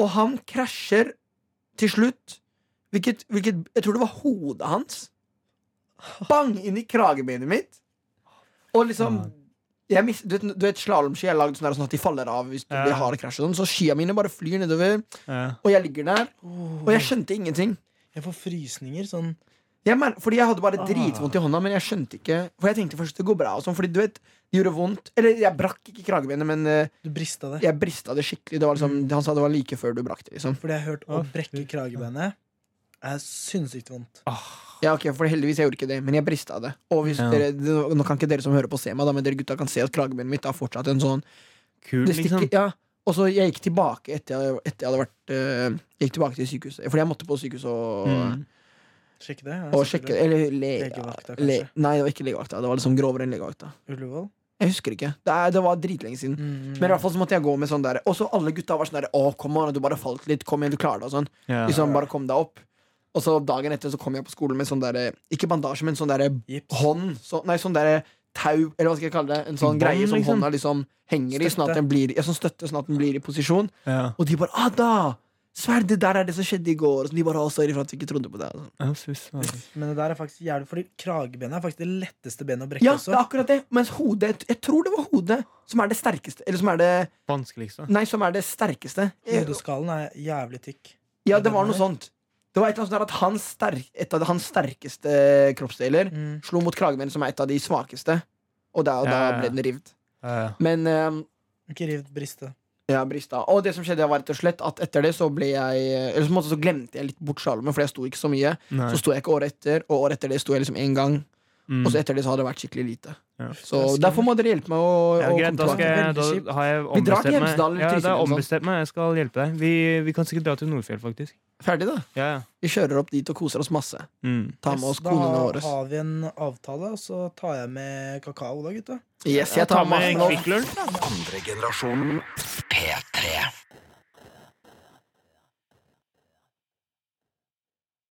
S4: Og han krasjer til slutt hvilket, hvilket Jeg tror det var hodet hans. Bang inn i kragebeinet mitt. Og liksom jeg mis, Du vet, du vet slalåmski er lagd sånn, der, sånn at de faller av hvis det
S3: Ja.
S4: blir harde krasj. og Sånn, så skia mine bare flyr nedover,
S3: Ja.
S4: og jeg ligger der.
S2: Åh,
S4: Og jeg skjønte ingenting.
S2: jeg får frysninger. Sånn
S4: Jeg mer fordi jeg hadde bare dritvondt i hånda, men jeg skjønte ikke For jeg tenkte først det går bra. Og sånn, fordi du vet, det gjorde vondt. Eller jeg brakk ikke kragebeinet, men eh,
S2: Du brista det.
S4: jeg brista det skikkelig. Det var liksom, Han sa det var like før du brakk det. liksom
S2: Fordi jeg har hørt å
S3: Å,
S2: brekke kragebeinet er sinnssykt vondt.
S3: Ah,
S4: Ja, ok, for heldigvis jeg gjorde ikke det, men jeg brista det. Og hvis
S3: Ja.
S4: dere, det- Nå kan ikke dere som hører på se meg, da, men dere gutta kan se at kragebeinet mitt er fortsatt en sånn
S3: Kult,
S4: det stikker,
S3: liksom.
S4: ja. Og så jeg gikk tilbake etter jeg, etter jeg hadde vært eh, Jeg gikk tilbake til sykehuset, fordi jeg måtte på sykehuset og,
S3: Mm.
S2: Sjekke det.
S4: og sjekke Eller le,
S2: Legevakta,
S4: le,
S2: kanskje?
S4: Nei, det var ikke legevakta. Det var liksom grovere enn legevakta.
S2: Ullevål.
S4: Jeg husker ikke. Det, er, det var dritlenge siden.
S2: Mm.
S4: Men i hvert fall så måtte jeg gå med sånn der Og så alle gutta var sånn der Å, kom an, du bare falt litt. Kom igjen, du klarer det. og sånn
S3: Ja.
S4: Liksom bare kom deg opp. Og så dagen etter så kom jeg på skolen med sånn derre Ikke bandasje, men sånn derre
S2: Gips.
S4: hånd så, Nei, sånn derre tau, eller hva skal jeg kalle det? En sånn
S3: Bånd,
S4: greie som
S3: liksom.
S4: hånda liksom henger i, sånn
S2: Støtte.
S4: at den blir, ja, sånn støtte, sånn at den blir i posisjon.
S3: Ja.
S4: Og de bare 'Ada! Sverd, det der er det som skjedde i går.' Og så de bare 'Å, sorry for at vi ikke trodde på det.' Altså.
S3: Ja, fy søren.
S2: Men det der er faktisk jævlig Fordi kragebeinet er faktisk det letteste benet å brekke
S4: Ja, det
S2: også.
S4: er akkurat det. Mens hodet Jeg tror det var hodet som er det sterkeste. Eller som er det
S3: Vanskeligste.
S4: Nei, som er det sterkeste.
S2: Hodeskallen er jævlig tykk.
S4: Ja, det var noe sånt. Det var et eller annet sånn der at hans sterk, et av hans sterkeste kroppsdeler
S2: Mm.
S4: slo mot kragebeinet, som er et av de svakeste. Og da, og da
S3: Ja, ja, ja.
S4: ble den rivd.
S3: Ja, ja.
S4: Men ehm,
S2: Ikke rivt briste.
S4: Ja, brista. Og det som skjedde var rett og slett at etter det så ble jeg Eller så, på en måte så glemte jeg litt bort slalåmen, for jeg sto ikke så mye.
S3: Nei.
S4: Så sto jeg ikke året etter, og året etter det sto jeg liksom én gang.
S3: Mm.
S4: Og så etter det så har det vært skikkelig lite.
S3: Ja.
S4: Så derfor må dere hjelpe meg å,
S3: Ja,
S4: å
S3: greit, da,
S4: komme
S3: skal
S4: tilbake.
S3: jeg,
S2: Veldig kjipt.
S3: da har jeg
S4: Vi drar til
S3: ombestemt
S4: liksom.
S3: meg.
S4: Hemsedal
S3: Ja, da
S4: eller
S3: har jeg
S4: Trysil eller
S3: ombestemt meg. Jeg skal hjelpe deg. Vi, vi kan sikkert dra til Nordfjell, faktisk.
S4: Ferdig, da.
S3: Ja, ja.
S4: Vi kjører opp dit og koser oss masse.
S3: Mm.
S4: Ta med oss
S2: da
S4: konene våre.
S2: har vi en avtale, og så tar jeg med kakao da, gutta.
S4: Yes, jeg tar med
S3: Kvikk Lunsj.
S1: Andre generasjonen P3.